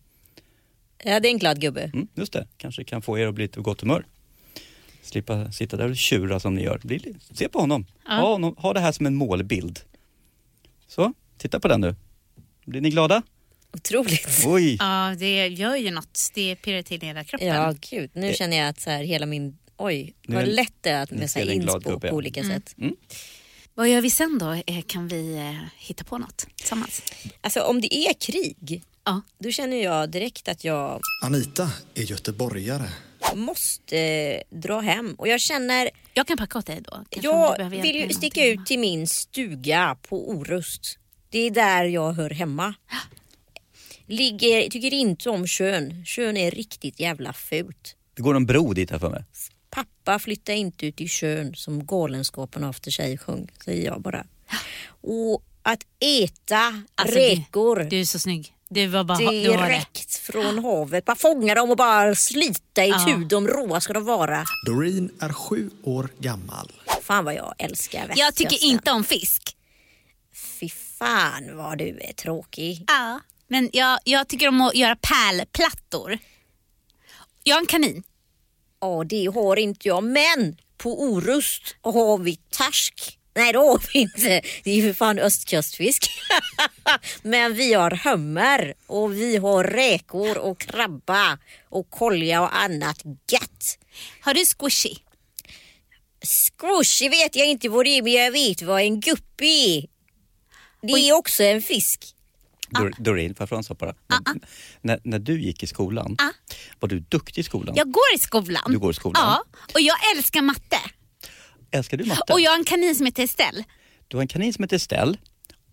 S3: Ja, det är en glad gubbe.
S4: Mm, just det, kanske kan få er att bli lite på gott humör. Slippa sitta där och tjura som ni gör. Bli, li- se på honom. Ha, honom. ha det här som en målbild. Så, titta på den nu. Blir ni glada?
S3: Otroligt.
S4: Oj!
S2: Ja, det gör ju något. Det pirrar till i hela kroppen.
S3: Ja, gud. Nu känner jag att så här, hela min... Oj,
S4: Nu
S3: vad
S4: är-
S3: lätt det är att
S4: nu
S3: med så
S4: ser
S3: här
S4: jag en glad
S3: inspo
S4: gubbe,
S3: på
S4: ja.
S3: olika sätt.
S2: Vad gör vi sen då? Eh, Kan vi eh, hitta på något tillsammans?
S3: Alltså om det är krig,
S2: Ja.
S3: då känner jag direkt att jag
S1: Anita är göteborgare.
S3: måste eh, dra hem. Och jag känner,
S2: Jag kan packa åt dig då. Kanske om du
S3: jag
S2: behöver hjälp
S3: vill
S2: med
S3: ju sticka
S2: någonting.
S3: ut till min stuga på Orust. Det är där jag hör hemma. Ligger, tycker inte om kön. Kön är riktigt jävla fult.
S4: Det går en bro dit här för mig.
S3: Pappa flytta inte ut i kön som galenskapen efter sig sjöng, säger jag bara. Och att äta
S2: Alltså, det-
S3: räkor.
S2: Du är så snygg. Du var bara, du var det.
S3: direkt från havet. Bara fånga dem och bara slita i tu. De råa ska de vara.
S1: Doreen är sju år gammal.
S3: Fan vad jag älskar västkusten.
S2: Jag tycker inte om fisk.
S3: Fy fan vad du är tråkig.
S2: Ja. Men jag, jag tycker om att göra pärlplattor. Jag har en kanin.
S3: Ja det har inte jag men på Orust har vi tarsk. Nej det har vi inte. Det är ju för fan östkustfisk. men vi har hummer och vi har räkor och krabba och kolja och annat gött.
S2: Har du squishy?
S3: Squishy vet jag inte vad det är men jag vet vad en guppy är. Det är också en fisk.
S4: Dor- Doreen, får jag fråga en sak bara? När, när, när du gick i skolan, var du duktig i skolan?
S2: Jag går i skolan.
S4: Du går i skolan.
S2: Ja, och jag älskar matte.
S4: Älskar du matte?
S2: Och jag har en kanin som heter Estelle.
S4: Du har en kanin som heter Estelle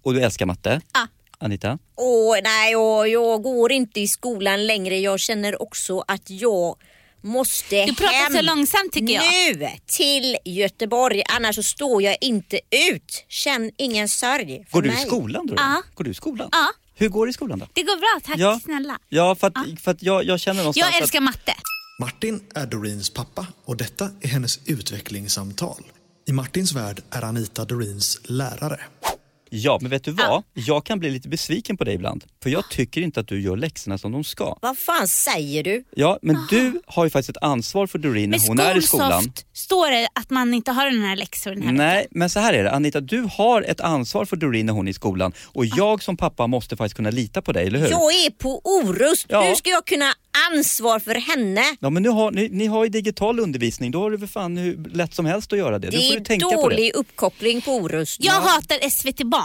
S4: och du älskar matte.
S2: Ja.
S4: Anita,
S3: Åh, nej, åh, jag går inte i skolan längre. Jag känner också att jag måste
S2: Du pratar
S3: hem
S2: så långsamt, tycker jag.
S3: Nu till Göteborg, annars så står jag inte ut. Känn ingen sorg för
S4: går du i
S3: mig.
S4: skolan Doreen?
S2: Ja.
S4: Går du i skolan?
S2: Ja.
S4: Hur går det i skolan då?
S2: Det går bra, tack
S4: Ja.
S2: snälla.
S4: Ja, för att, för att jag, jag känner någonstans
S2: Jag älskar matte.
S1: Martin är Doreens pappa och detta är hennes utvecklingssamtal. I Martins värld är Anita Doreens lärare.
S4: att... Ja, men vet du vad? Jag kan bli lite besviken på dig ibland. För jag tycker inte att du gör läxorna som de ska.
S3: Vad fan säger du?
S4: Ja, men du har ju faktiskt ett ansvar för Doreen
S2: Med
S4: när hon är i skolan.
S2: Skolsoft står det att man inte har den här läxor den här
S4: Nej, men så här är det. Anita, du har ett ansvar för Doreen när hon är i skolan. Och
S3: Ah.
S4: jag som pappa måste faktiskt kunna lita på dig, eller hur?
S3: Jag är på Orust.
S4: Ja.
S3: Hur ska jag kunna ha ansvar för henne?
S4: Ja, men nu har, ni, ni har ju digital undervisning. Då har du för fan hur lätt som helst att göra det.
S3: Det
S4: Då får
S3: är
S4: du tänka på det.
S3: dålig uppkoppling på Orust.
S2: Jag hatar SVT Barn.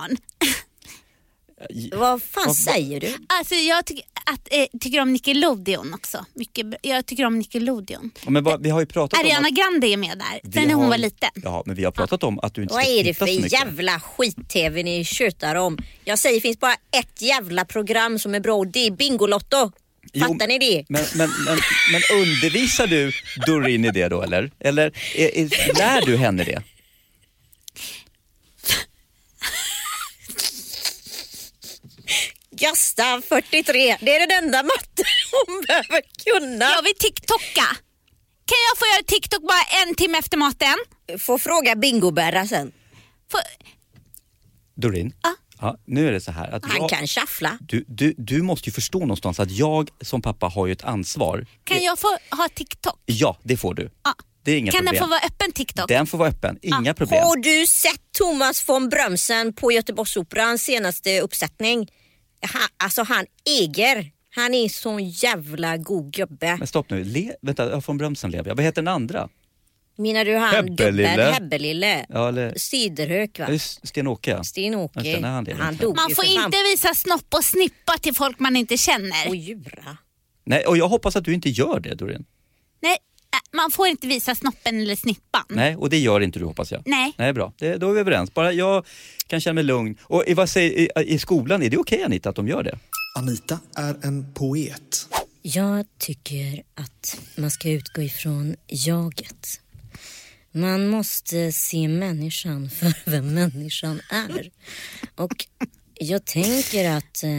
S3: Vad fan säger du?
S2: Alltså jag tycker, att, eh, tycker om Nickelodeon också. Mycket, bra. jag tycker om Nickelodeon.
S4: Ja, Men vad, vi har ju pratat om...
S2: Ariana
S4: att-
S2: Grande är med där,
S4: vi
S2: sen när hon
S4: har-
S2: var liten.
S4: Ja, men vi har pratat om att du inte
S3: Vad
S4: ska
S3: är det
S4: titta så mycket.
S3: för jävla skit-tv ni tjötar om? Jag säger det finns bara ett jävla program som är bra och det är Bingolotto. Fattar ni det?
S4: Men, men, men, men undervisar du Doreen i det då eller? Eller är, är, lär du henne det?
S3: Gösta 43, det är den enda matten hon behöver kunna.
S2: Jag vill TikToka. Kan jag få göra TikTok bara en timme efter maten?
S3: Får fråga Bingo-Berra sen.
S2: Får...
S4: Doreen,
S2: Ja.
S4: nu är det så här att
S3: Han
S4: jag,
S3: kan shuffla.
S4: du, du, du måste ju förstå någonstans att jag som pappa har ju ett ansvar.
S2: Kan jag få ha TikTok?
S4: Ja, det får du.
S2: Ja.
S4: Det är inga
S2: Kan den
S4: problem.
S2: få vara öppen TikTok?
S4: Den får vara öppen, inga problem.
S3: Har du sett Thomas von Brömsen på Göteborgsoperans senaste uppsättning? Han, alltså han äger. Han är sån jävla god gubbe.
S4: Men stopp nu, Le vänta, ja, von Brömsen lever jag. Vad heter den andra?
S3: Menar du han
S4: Hebbelille.
S3: gubben Hebbelille?
S4: Ja, eller,
S3: Siderhök va?
S4: ja, just Sten-Åke ja. Jag
S3: Sten-Åke.
S4: känner han det
S3: Han
S4: egentligen.
S3: dog
S2: Man
S3: ju
S2: får
S3: för fan
S2: inte visa snopp och snippa till folk man inte känner.
S3: på Djura.
S4: Nej, och jag hoppas att du inte gör det Doreen.
S2: Nej, äh, man får inte visa snoppen eller snippan.
S3: Mm.
S4: Nej, och det gör inte du hoppas jag.
S2: Nej.
S4: Nej, bra. Det, då är vi överens. Bara jag kan känna mig lugn. Och i, vad säger, i, i skolan, är det okej Anita att de gör det?
S1: Anita är en poet.
S3: Jag tycker att man ska utgå ifrån jaget. Man måste se människan för vem människan är. Och jag tänker att... Eh,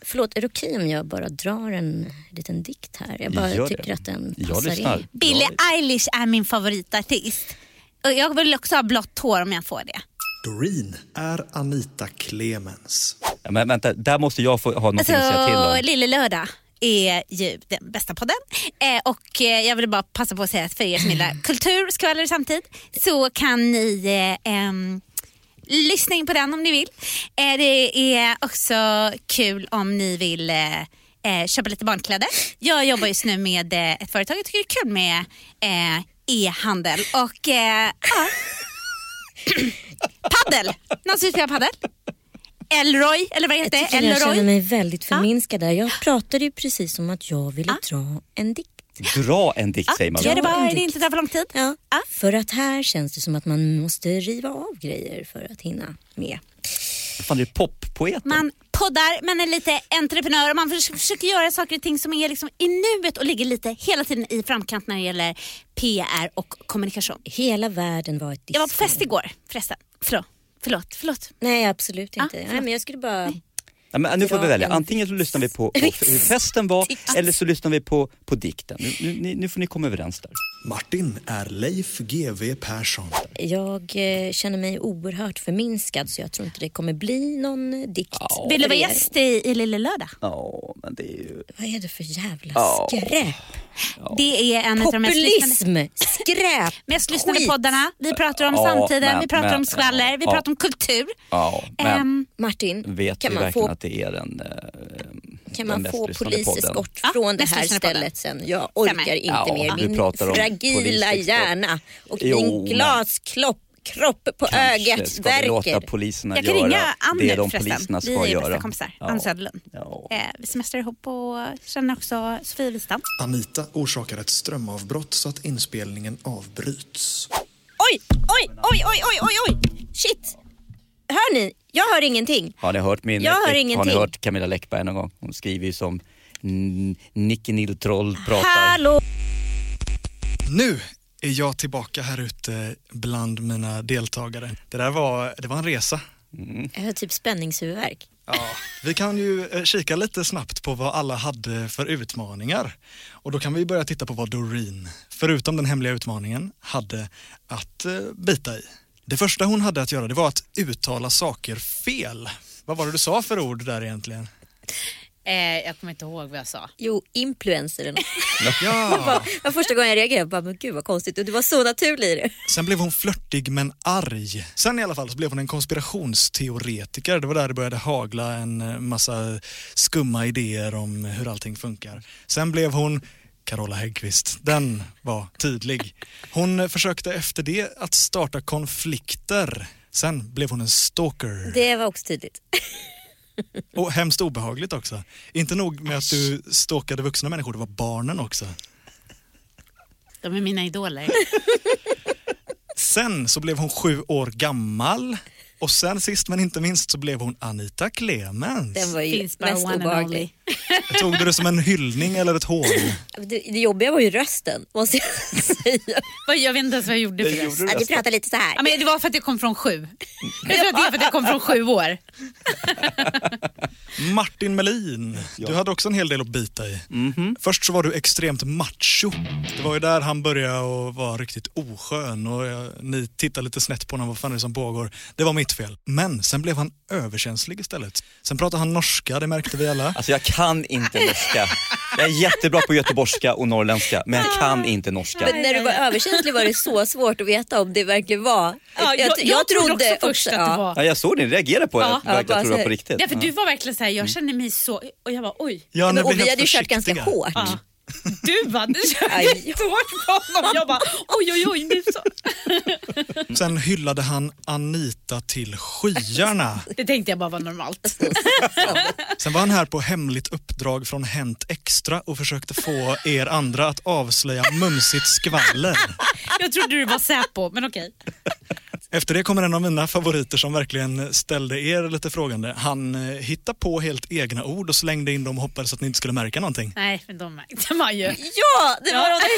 S3: förlåt, är det okej om jag bara drar en liten dikt här? Jag bara
S4: Gör det.
S3: tycker att den
S4: Jag
S3: passar
S4: lyssnar.
S3: in.
S2: Billie
S4: Jag-
S2: Eilish är min favoritartist. Och jag vill också ha blått hår om jag får det.
S1: Doreen är Anita Clemens.
S4: Ja, men vänta, där måste jag få ha någonting att säga till
S2: Alltså,
S4: om.
S2: Lille Lördag är ju den bästa podden. Eh, och eh, jag vill bara passa på att säga att för er som gillar kultur, skvaller samtid så kan ni eh, ehm, lyssna in på den om ni vill. Eh, det är också kul om ni vill eh, eh, köpa lite barnkläder. Jag jobbar just nu med eh, ett företag jag tycker det är kul med eh, e-handel och eh, ja. paddel. Någon som vill spela paddel? Elroy, eller vad
S3: Jag
S2: heter det?
S3: tycker jag
S2: Elroy?
S3: känner mig väldigt förminskad där. Jag pratade ju precis om att jag ville dra en dikt.
S4: Dra en dikt säger man.
S2: Gör det bara,
S3: en
S2: det
S3: dikt.
S2: inte tar för lång tid.
S3: Ja. För att här känns det som att man måste riva av grejer för att hinna med.
S4: Fan, det är poppoeten.
S2: Man poddar, man är lite entreprenör och man förs- försöker göra saker och ting som är liksom i nuet och ligger lite hela tiden i framkant när det gäller PR och kommunikation.
S3: Hela världen var ett
S2: Jag var på
S3: Disney.
S2: fest igår förresten. Förlåt, förlåt, förlåt.
S3: Nej, absolut inte.
S2: Ah,
S3: Nej, men jag skulle bara...
S4: Nej, men nu får vi
S3: Dra
S4: välja.
S3: en-
S4: Antingen så lyssnar vi på, på hur festen var eller så lyssnar vi på, på dikten. Nu, nu, ni- nu får ni komma överens där.
S1: Martin är Leif GW Persson.
S3: Jag eh, känner mig oerhört förminskad så jag tror inte det kommer bli någon eh, dikt.
S2: Vill du vara
S3: för er.
S2: gäst i, i Lille Lördag?
S4: Ja, men det är ju...
S3: Vad är det för jävla
S4: Ja.
S3: skräp?
S2: Det är en av de mest lyssnade,
S3: Populism! Skräp!
S2: mest lyssnade
S3: Skit.
S2: poddarna. Vi pratar om
S4: Ja,
S2: samtiden,
S4: men-
S2: vi pratar
S4: men-
S2: om skvaller, vi
S4: ja.
S2: pratar om kultur.
S4: Ja, men
S2: Ehm,
S3: Martin,
S4: vet
S3: kan
S4: vi
S3: man
S4: verkligen
S3: få,
S4: att det är den... eh,
S3: kan
S4: den
S3: man
S4: mest
S3: få
S4: lyssnade podden?
S3: poliseskort
S2: Ja,
S3: från det
S2: mest
S3: här
S2: lyssnade podden.
S3: stället sen? Jag
S2: Stämmer.
S3: orkar inte
S4: Ja,
S3: mer.
S4: vi
S3: Min
S4: pratar om
S3: fragila
S4: poliseskort.
S3: hjärna och
S4: Jo,
S3: din
S4: men-
S3: glaskropp kropp på
S4: Kanske
S3: ögat
S4: ska vi låta
S3: verkar.
S4: poliserna
S2: jag kan
S4: göra
S2: ringa Ann
S4: det de
S2: nu förresten.
S4: poliserna
S2: Vi
S4: ska
S2: är ju
S4: göra.
S7: göra.
S2: bästa kompisar. Ann
S4: Ja.
S2: Söderlund.
S4: Ja.
S2: Eh, vi semestrar ihop och känner också Sofia Wistam.
S1: Anita orsakar ett strömavbrott så att inspelningen avbryts.
S3: Oj, oj, oj, oj, oj, oj, oj! Shit! Hör ni? Jag hör ingenting.
S4: Har ni hört min... eh,
S3: Jag hör
S4: Har ni
S3: ingenting.
S4: hört Camilla Läckberg någon gång? Hon skriver ju som N- Nicke Niltroll pratar.
S3: Hallå!
S1: Nu är jag tillbaka här ute bland mina deltagare. Det där var, det var en resa.
S3: Jag har typ spänningshuvudvärk.
S1: Ja, vi kan ju eh, kika lite snabbt på vad alla hade för utmaningar. Och då kan vi börja titta på vad Doreen, förutom den hemliga utmaningen, hade att eh, bita i. Det första hon hade att göra det var att uttala saker fel. Vad var det du sa för ord där egentligen?
S7: jag kommer inte ihåg vad jag sa.
S3: Jo, influencer. eller något.
S1: Ja,
S3: Det var första gången jag reagerade. Jag bara, men gud vad konstigt. Och du var så naturlig i det.
S1: sen blev hon flörtig men arg. Sen i alla fall så blev hon en konspirationsteoretiker. Det var där det började hagla en eh, massa skumma idéer om hur allting funkar. Sen blev hon Carola Häggkvist, den var tydlig. Hon eh, försökte efter det att starta konflikter. Sen blev hon en stalker.
S3: Det var också tydligt.
S1: Och hemskt obehagligt också. Inte nog med att du stalkade vuxna människor, det var barnen också.
S7: De är mina idoler.
S1: Sen så blev hon sju år gammal. Och sen sist men inte minst så blev hon Anita Clemens.
S3: Den var ju
S2: Finns bara
S3: mest
S2: one and
S3: obehaglig.
S1: Tog du det som en hyllning eller ett hån?
S3: Det, det jobbiga var ju rösten måste jag säga.
S2: Vad- Jag vet inte ens vad jag gjorde för
S4: Det
S2: röst.
S4: gjorde du
S3: Att vi
S4: nästan.
S3: pratar lite så här.
S2: Alltså, Ja, men det var för att jag kom från sju. Jag tror att det är för att jag kom från sju år.
S1: Martin Melin, du hade också en hel del att bita i. Först så var du extremt macho. Det var ju där han började och var riktigt oskön och jag, ni tittade lite snett på honom, vad fan är det som pågår? Det var mitt fel. Men sen blev han överkänslig istället. Sen pratade han norska, det märkte vi alla.
S4: Alltså jag kan inte norska. Jag är jättebra på göteborgska och norrländska men jag kan
S2: Ah.
S4: inte norska.
S3: Men när du var överkänslig var det så svårt att veta om det verkligen var...
S2: Ja, jag, jag, trodde också först att det
S3: ja.
S2: var...
S4: Ja, jag såg det, ni reagerade på det.
S2: Ja.
S4: Ja,
S3: Ja,
S4: jag
S3: bara
S4: tror det var
S3: så-
S4: på riktigt.
S2: Ja, för du var verkligen så här, jag kände mig så... Och jag var oj.
S1: Ja, ni
S3: Men, och
S1: blev
S3: vi
S1: helt
S3: hade ju kört
S1: försiktiga.
S3: ganska hårt.
S2: Ja. Du hade kört
S3: Aj.
S2: jättehårt på honom. Jag bara oj, oj, oj. Nu så.
S1: Sen hyllade han Anita till skyarna.
S2: Det tänkte jag bara var normalt.
S1: Sen var han här på hemligt uppdrag från Hänt Extra och försökte få er andra att avslöja mumsigt skvaller.
S2: Jag trodde du var Säpo, men okej.
S1: Efter det kommer en av mina favoriter som verkligen ställde er lite frågande. Han eh, hittade på helt egna ord och slängde in dem och hoppades att ni inte skulle märka någonting.
S2: Nej, men de märkte man ju.
S3: Ja, det var de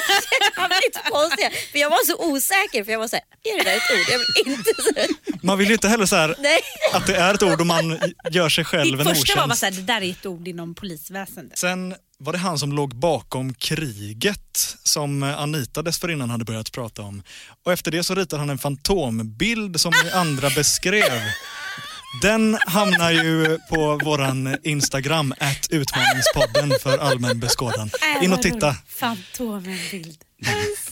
S3: jävligt konstiga. För jag var så osäker för jag var så här, är det där ett ord? Jag vill inte säga
S1: Man vill ju inte heller så här
S3: nej.
S1: att det är ett ord och man gör sig själv
S2: Ditt
S1: en
S2: första var bara
S1: otjänst.
S2: såhär, det där är ett ord inom polisväsendet.
S1: Sen var det han som låg bakom kriget som eh, Anita dessförinnan hade börjat prata om. Och efter det så ritade han en fantombild som ni andra beskrev. Den hamnar ju på våran Instagram, att utmaningspodden för allmän beskådan. In och titta.
S2: Fantomenbild.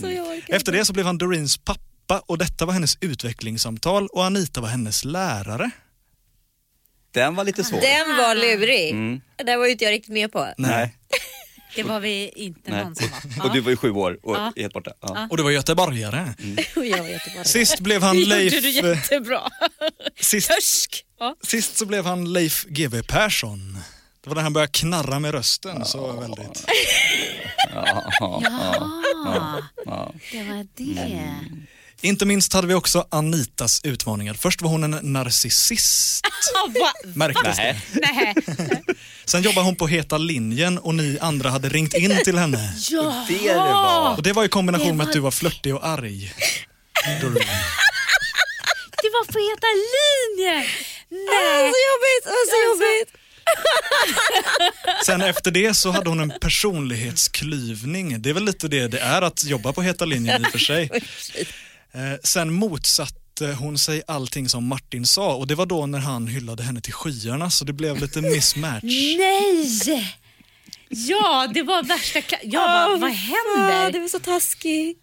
S2: Mm.
S1: Efter det så blev han Doreens pappa och detta var hennes utvecklingssamtal och Anita var hennes lärare.
S4: Den var lite svår.
S3: Den var lurig.
S1: Mm.
S3: Den var ju inte jag riktigt med på.
S4: Nej.
S2: Det var vi inte
S4: Nej.
S2: någon som var.
S4: Och du var ju sju år och helt borta. Ja.
S1: Och du var göteborgare.
S3: Och jag var jättebra.
S1: Sist blev han
S2: Det gjorde
S1: Leif... eh,
S2: du jättebra.
S1: Sist,
S2: Törsk. Ja.
S1: sist så blev han Leif GW Persson. Det var när han började knarra med rösten. Så väldigt.
S2: Det var det.
S1: Mm. Inte minst hade vi också Anitas utmaningar. Först var hon en narcissist.
S2: Ja, va?
S1: Märktes det.
S4: Nej.
S2: Nej.
S1: Sen jobbade hon på Heta linjen och ni andra hade ringt in till henne.
S4: Det var...
S1: Och det var i kombination med att du var flörtig och arg. Doreen.
S2: Det var på Heta linjen. Nej. Alltså-
S3: Så jobbigt, det var så jobbigt.
S1: Sen efter det så hade hon en personlighetsklyvning. Det är väl lite det det är att jobba på heta linjen i och för sig. Eh, Sen motsatte hon sig allting som Martin sa och det var då när han hyllade henne till skyarna så det blev lite mismatch.
S2: Nej. Ja, det var värsta... Kla- jag bara, vad
S3: Ah,
S2: händer?
S3: det var så taskigt.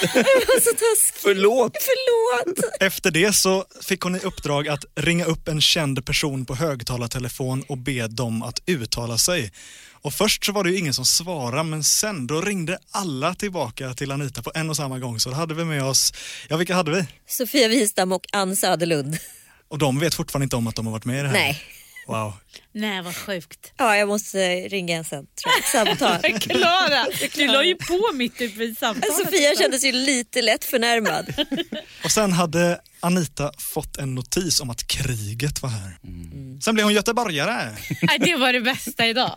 S3: Det var så taskigt.
S4: Förlåt!
S3: Förlåt.
S1: Efter det så fick hon i uppdrag att ringa upp en känd person på högtalartelefon och be dem att uttala sig. Och först så var det ju ingen som svarade men sen då ringde alla tillbaka till Anita på en och samma gång så då hade vi med oss, ja vilka hade vi?
S3: Sofia Wistam och Ann Söderlund.
S1: Och de vet fortfarande inte om att de har varit med i det här?
S3: Nej.
S1: Wow.
S2: Nej, vad sjukt.
S3: Ja, jag måste ringa en sen. Tror jag. Samtal.
S2: Klara, Alltså, du la ju på mitt uppe i samtalet.
S3: Sofia kändes ju lite lätt förnärmad.
S1: Och sen hade Anita fått en notis om att kriget var här. Sen blev hon göteborgare.
S2: Nej, det var det bästa idag.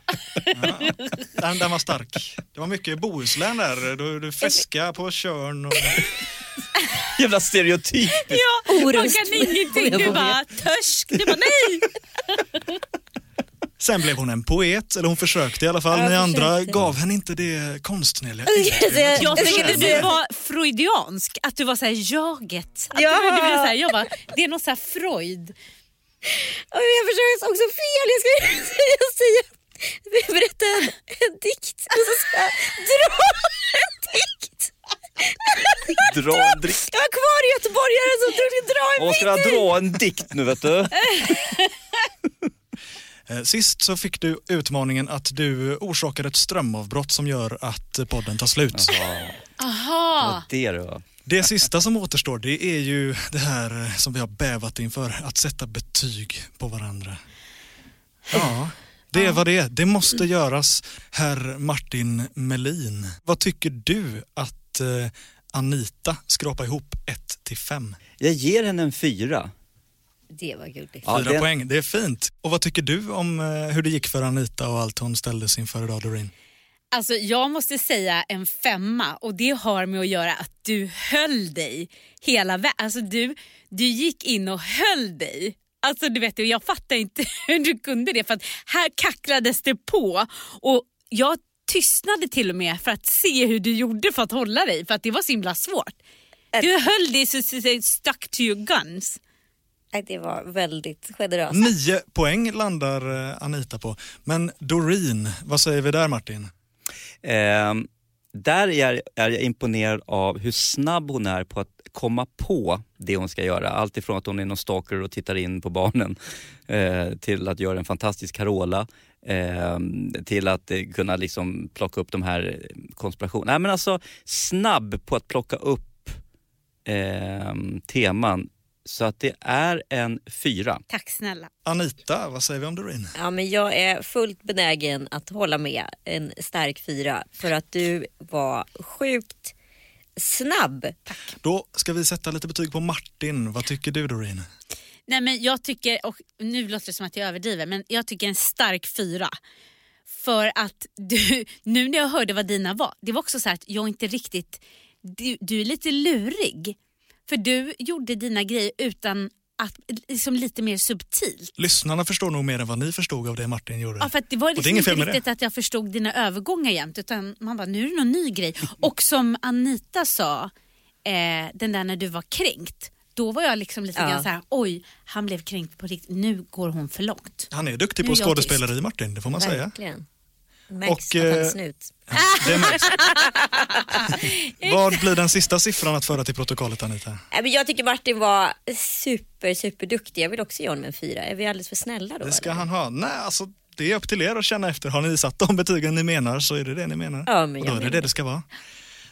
S1: Den, den var stark. Det var mycket Bohuslän där. Du, du fiskade på Tjörn och...
S4: Jävla stereotyp.
S2: Ja, man
S3: Orust.
S2: kan ingenting. Du bara törsk. Du bara nej.
S1: Sen blev hon en poet, eller hon försökte i alla fall.
S3: Ja,
S1: Ni
S3: jag
S1: andra
S3: försökte.
S1: gav henne inte det konstnärliga.
S2: Jag
S1: tänker
S2: tänkte
S1: att
S2: att du var freudiansk, att du var såhär jaget. Att
S3: Ja.
S2: du, du blev såhär, jag bara, det är något såhär Freud.
S3: Och jag försökte också fel. Jag ska jag säga, jag berätta en, en dikt och så ska jag dra en dikt.
S4: Dra en drick.
S3: Jag var kvar i göteborgaren som trodde dra en
S4: Åh, ska jag dra en dikt nu vet du?
S1: Eh, Sist så fick du utmaningen att du orsakade ett strömavbrott som gör att eh, podden tar slut.
S4: Ja, det du. va.
S1: Det sista som återstår det är ju det här eh, som vi har bävat inför, att sätta betyg på varandra. Ja, det var det. Det måste göras. Herr Martin Melin, vad tycker du att eh, Anita skrapa ihop 1 till 5?
S4: Jag ger henne en fyra.
S3: Det var gulligt.
S4: Ja,
S1: Fyra
S4: det-
S1: poäng, det är fint. Och vad tycker du om eh, hur det gick för Anita och allt hon ställdes inför idag, Doreen?
S2: Alltså jag måste säga en femma och det har med att göra att du höll dig hela vägen. Alltså du, du gick in och höll dig. Alltså du vet, jag fattar inte hur du kunde det för att här kacklades det på och jag tystnade till och med för att se hur du gjorde för att hålla dig för att det var så himla svårt. Du höll dig så, så, så stuck to your guns.
S3: Nej, Det var väldigt generöst.
S1: Nio poäng landar eh, Anita på. Men Doreen, vad säger vi där Martin?
S4: Ehm, där är jag, är jag imponerad av hur snabb hon är på att komma på det hon ska göra. Allt ifrån att hon är någon stalker och tittar in på barnen eh, till att göra en fantastisk Carola ehm, till att eh, kunna liksom plocka upp de här eh, konspirationerna. Nej men alltså snabb på att plocka upp ehm, teman. Så att det är en fyra.
S2: Tack snälla.
S1: Anita, vad säger vi om Doreen?
S3: Ja, men jag är fullt benägen att hålla med en stark fyra för att du var sjukt snabb.
S1: Då ska vi sätta lite betyg på Martin. Vad tycker du Doreen?
S2: Nej men jag tycker, och nu låter det som att jag överdriver, men jag tycker en stark fyra. För att du, nu när jag hörde vad dina var, det var också så här att jag inte riktigt, du, du är lite lurig. För du gjorde dina grejer utan att, liksom lite mer subtilt.
S1: Lyssnarna förstår nog mer än vad ni förstod av det Martin gjorde.
S2: Ja, för att det var
S1: det är
S2: liksom
S1: inget
S2: inte
S1: fel med det.
S2: riktigt att jag förstod dina övergångar jämt utan man bara, nu är det någon ny grej. Och som Anita sa, eh, den där när du var kränkt, då var jag liksom lite
S3: Ja.
S2: grann så här, oj, han blev kränkt på riktigt, nu går hon för långt.
S1: Han är duktig
S2: Nu
S1: på
S2: är jag tyst.
S1: skådespeleri Martin, det får man säga.
S3: Verkligen. Märks
S1: Och,
S3: att han
S1: eh,
S3: är snut.
S1: Det märks. Vad blir den sista siffran att föra till protokollet Anita?
S3: Nej, men jag tycker Martin var super, super duktig. Jag vill också ge honom en fyra. Är vi alldeles för snälla då?
S1: Det ska
S3: eller?
S1: han ha. Nej, alltså det är upp till er att känna efter. Har ni satt de betygen ni menar så är det det ni menar.
S3: Ja, men
S1: Och då
S3: jag
S1: är det
S3: menar
S1: det det ska vara.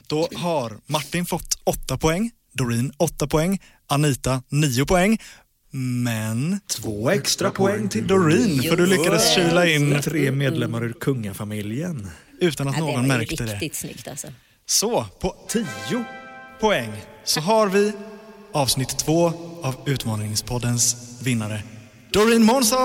S1: Då har Martin fått 8 poäng, Doreen 8 poäng, Anita 9 poäng. Men
S8: Två extra poäng till
S1: Doreen, för du lyckades kyla in
S8: Tre medlemmar ur kungafamiljen.
S1: utan att
S3: Ja,
S1: någon
S3: det var ju
S1: märkte det.
S3: riktigt snyggt alltså.
S1: Så, på 10 poäng så har vi avsnitt två av Utmaningspoddens vinnare, Doreen Månsson!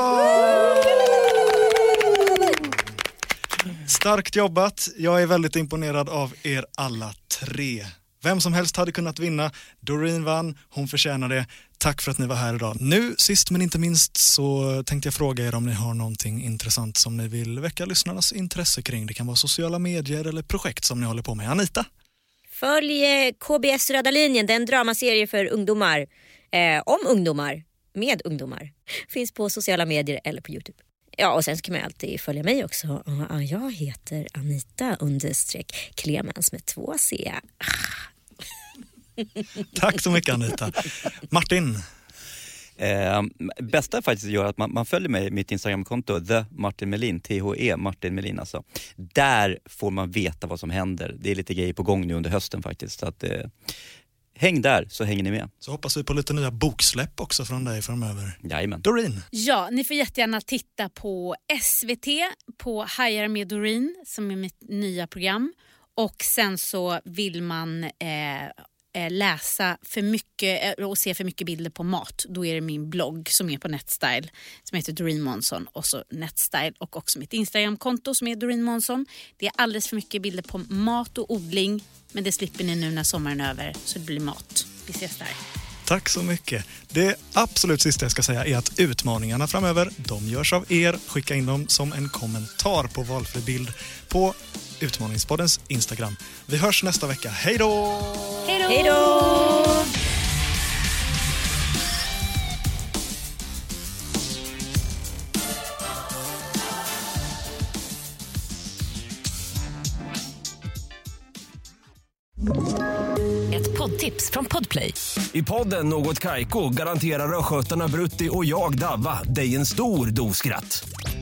S1: Starkt jobbat. Jag är väldigt imponerad av er alla tre. Vem som helst hade kunnat vinna. Doreen vann, hon förtjänar det. Tack för att ni var här idag. Nu sist men inte minst så tänkte jag fråga er om ni har någonting intressant som ni vill väcka lyssnarnas intresse kring. Det kan vara sociala medier eller projekt som ni håller på med. Anita?
S3: Följ eh, KBS Röda linjen, det är en dramaserie för ungdomar. Eh, om ungdomar, med ungdomar. Finns på sociala medier eller på Youtube. Ja, och sen så kan man ju alltid följa mig också. Ah, Jag heter Anita understreck Clemens med två C.
S1: Tack så mycket Anita. Martin?
S4: Eh, bästa är faktiskt att göra att man, man följer mig i mitt Instagramkonto, the Martin Melin, THE Martin Melin alltså. Där får man veta vad som händer. Det är lite grejer på gång nu under hösten faktiskt. Så att, eh, häng där så hänger ni med.
S1: Så hoppas vi på lite nya boksläpp också från dig framöver.
S4: Jajamän.
S1: Doreen?
S2: Ja, ni får jättegärna titta på SVT, på Hajar med Doreen som är mitt nya program. Och sen så vill man eh, eh, läsa för mycket eh, och se för mycket bilder på mat. Då är det min blogg som är på Netstyle som heter Doreen Monson och så Netstyle och också mitt Instagramkonto som är Doreen Monson. Det är alldeles för mycket bilder på mat och odling men det slipper ni nu när sommaren är över så det blir mat. Vi ses där.
S1: Tack så mycket. Det absolut sista jag ska säga är att utmaningarna framöver, de görs av er. Skicka in dem som en kommentar på valfri bild på Utmaningspoddens Instagram. Vi hörs nästa vecka. Hej då!
S3: Hej då!
S5: Ett poddtips från Podplay.
S8: I podden Något Kaiko garanterar östgötarna Brutti och jag, Davva, dig en stor dos skratt.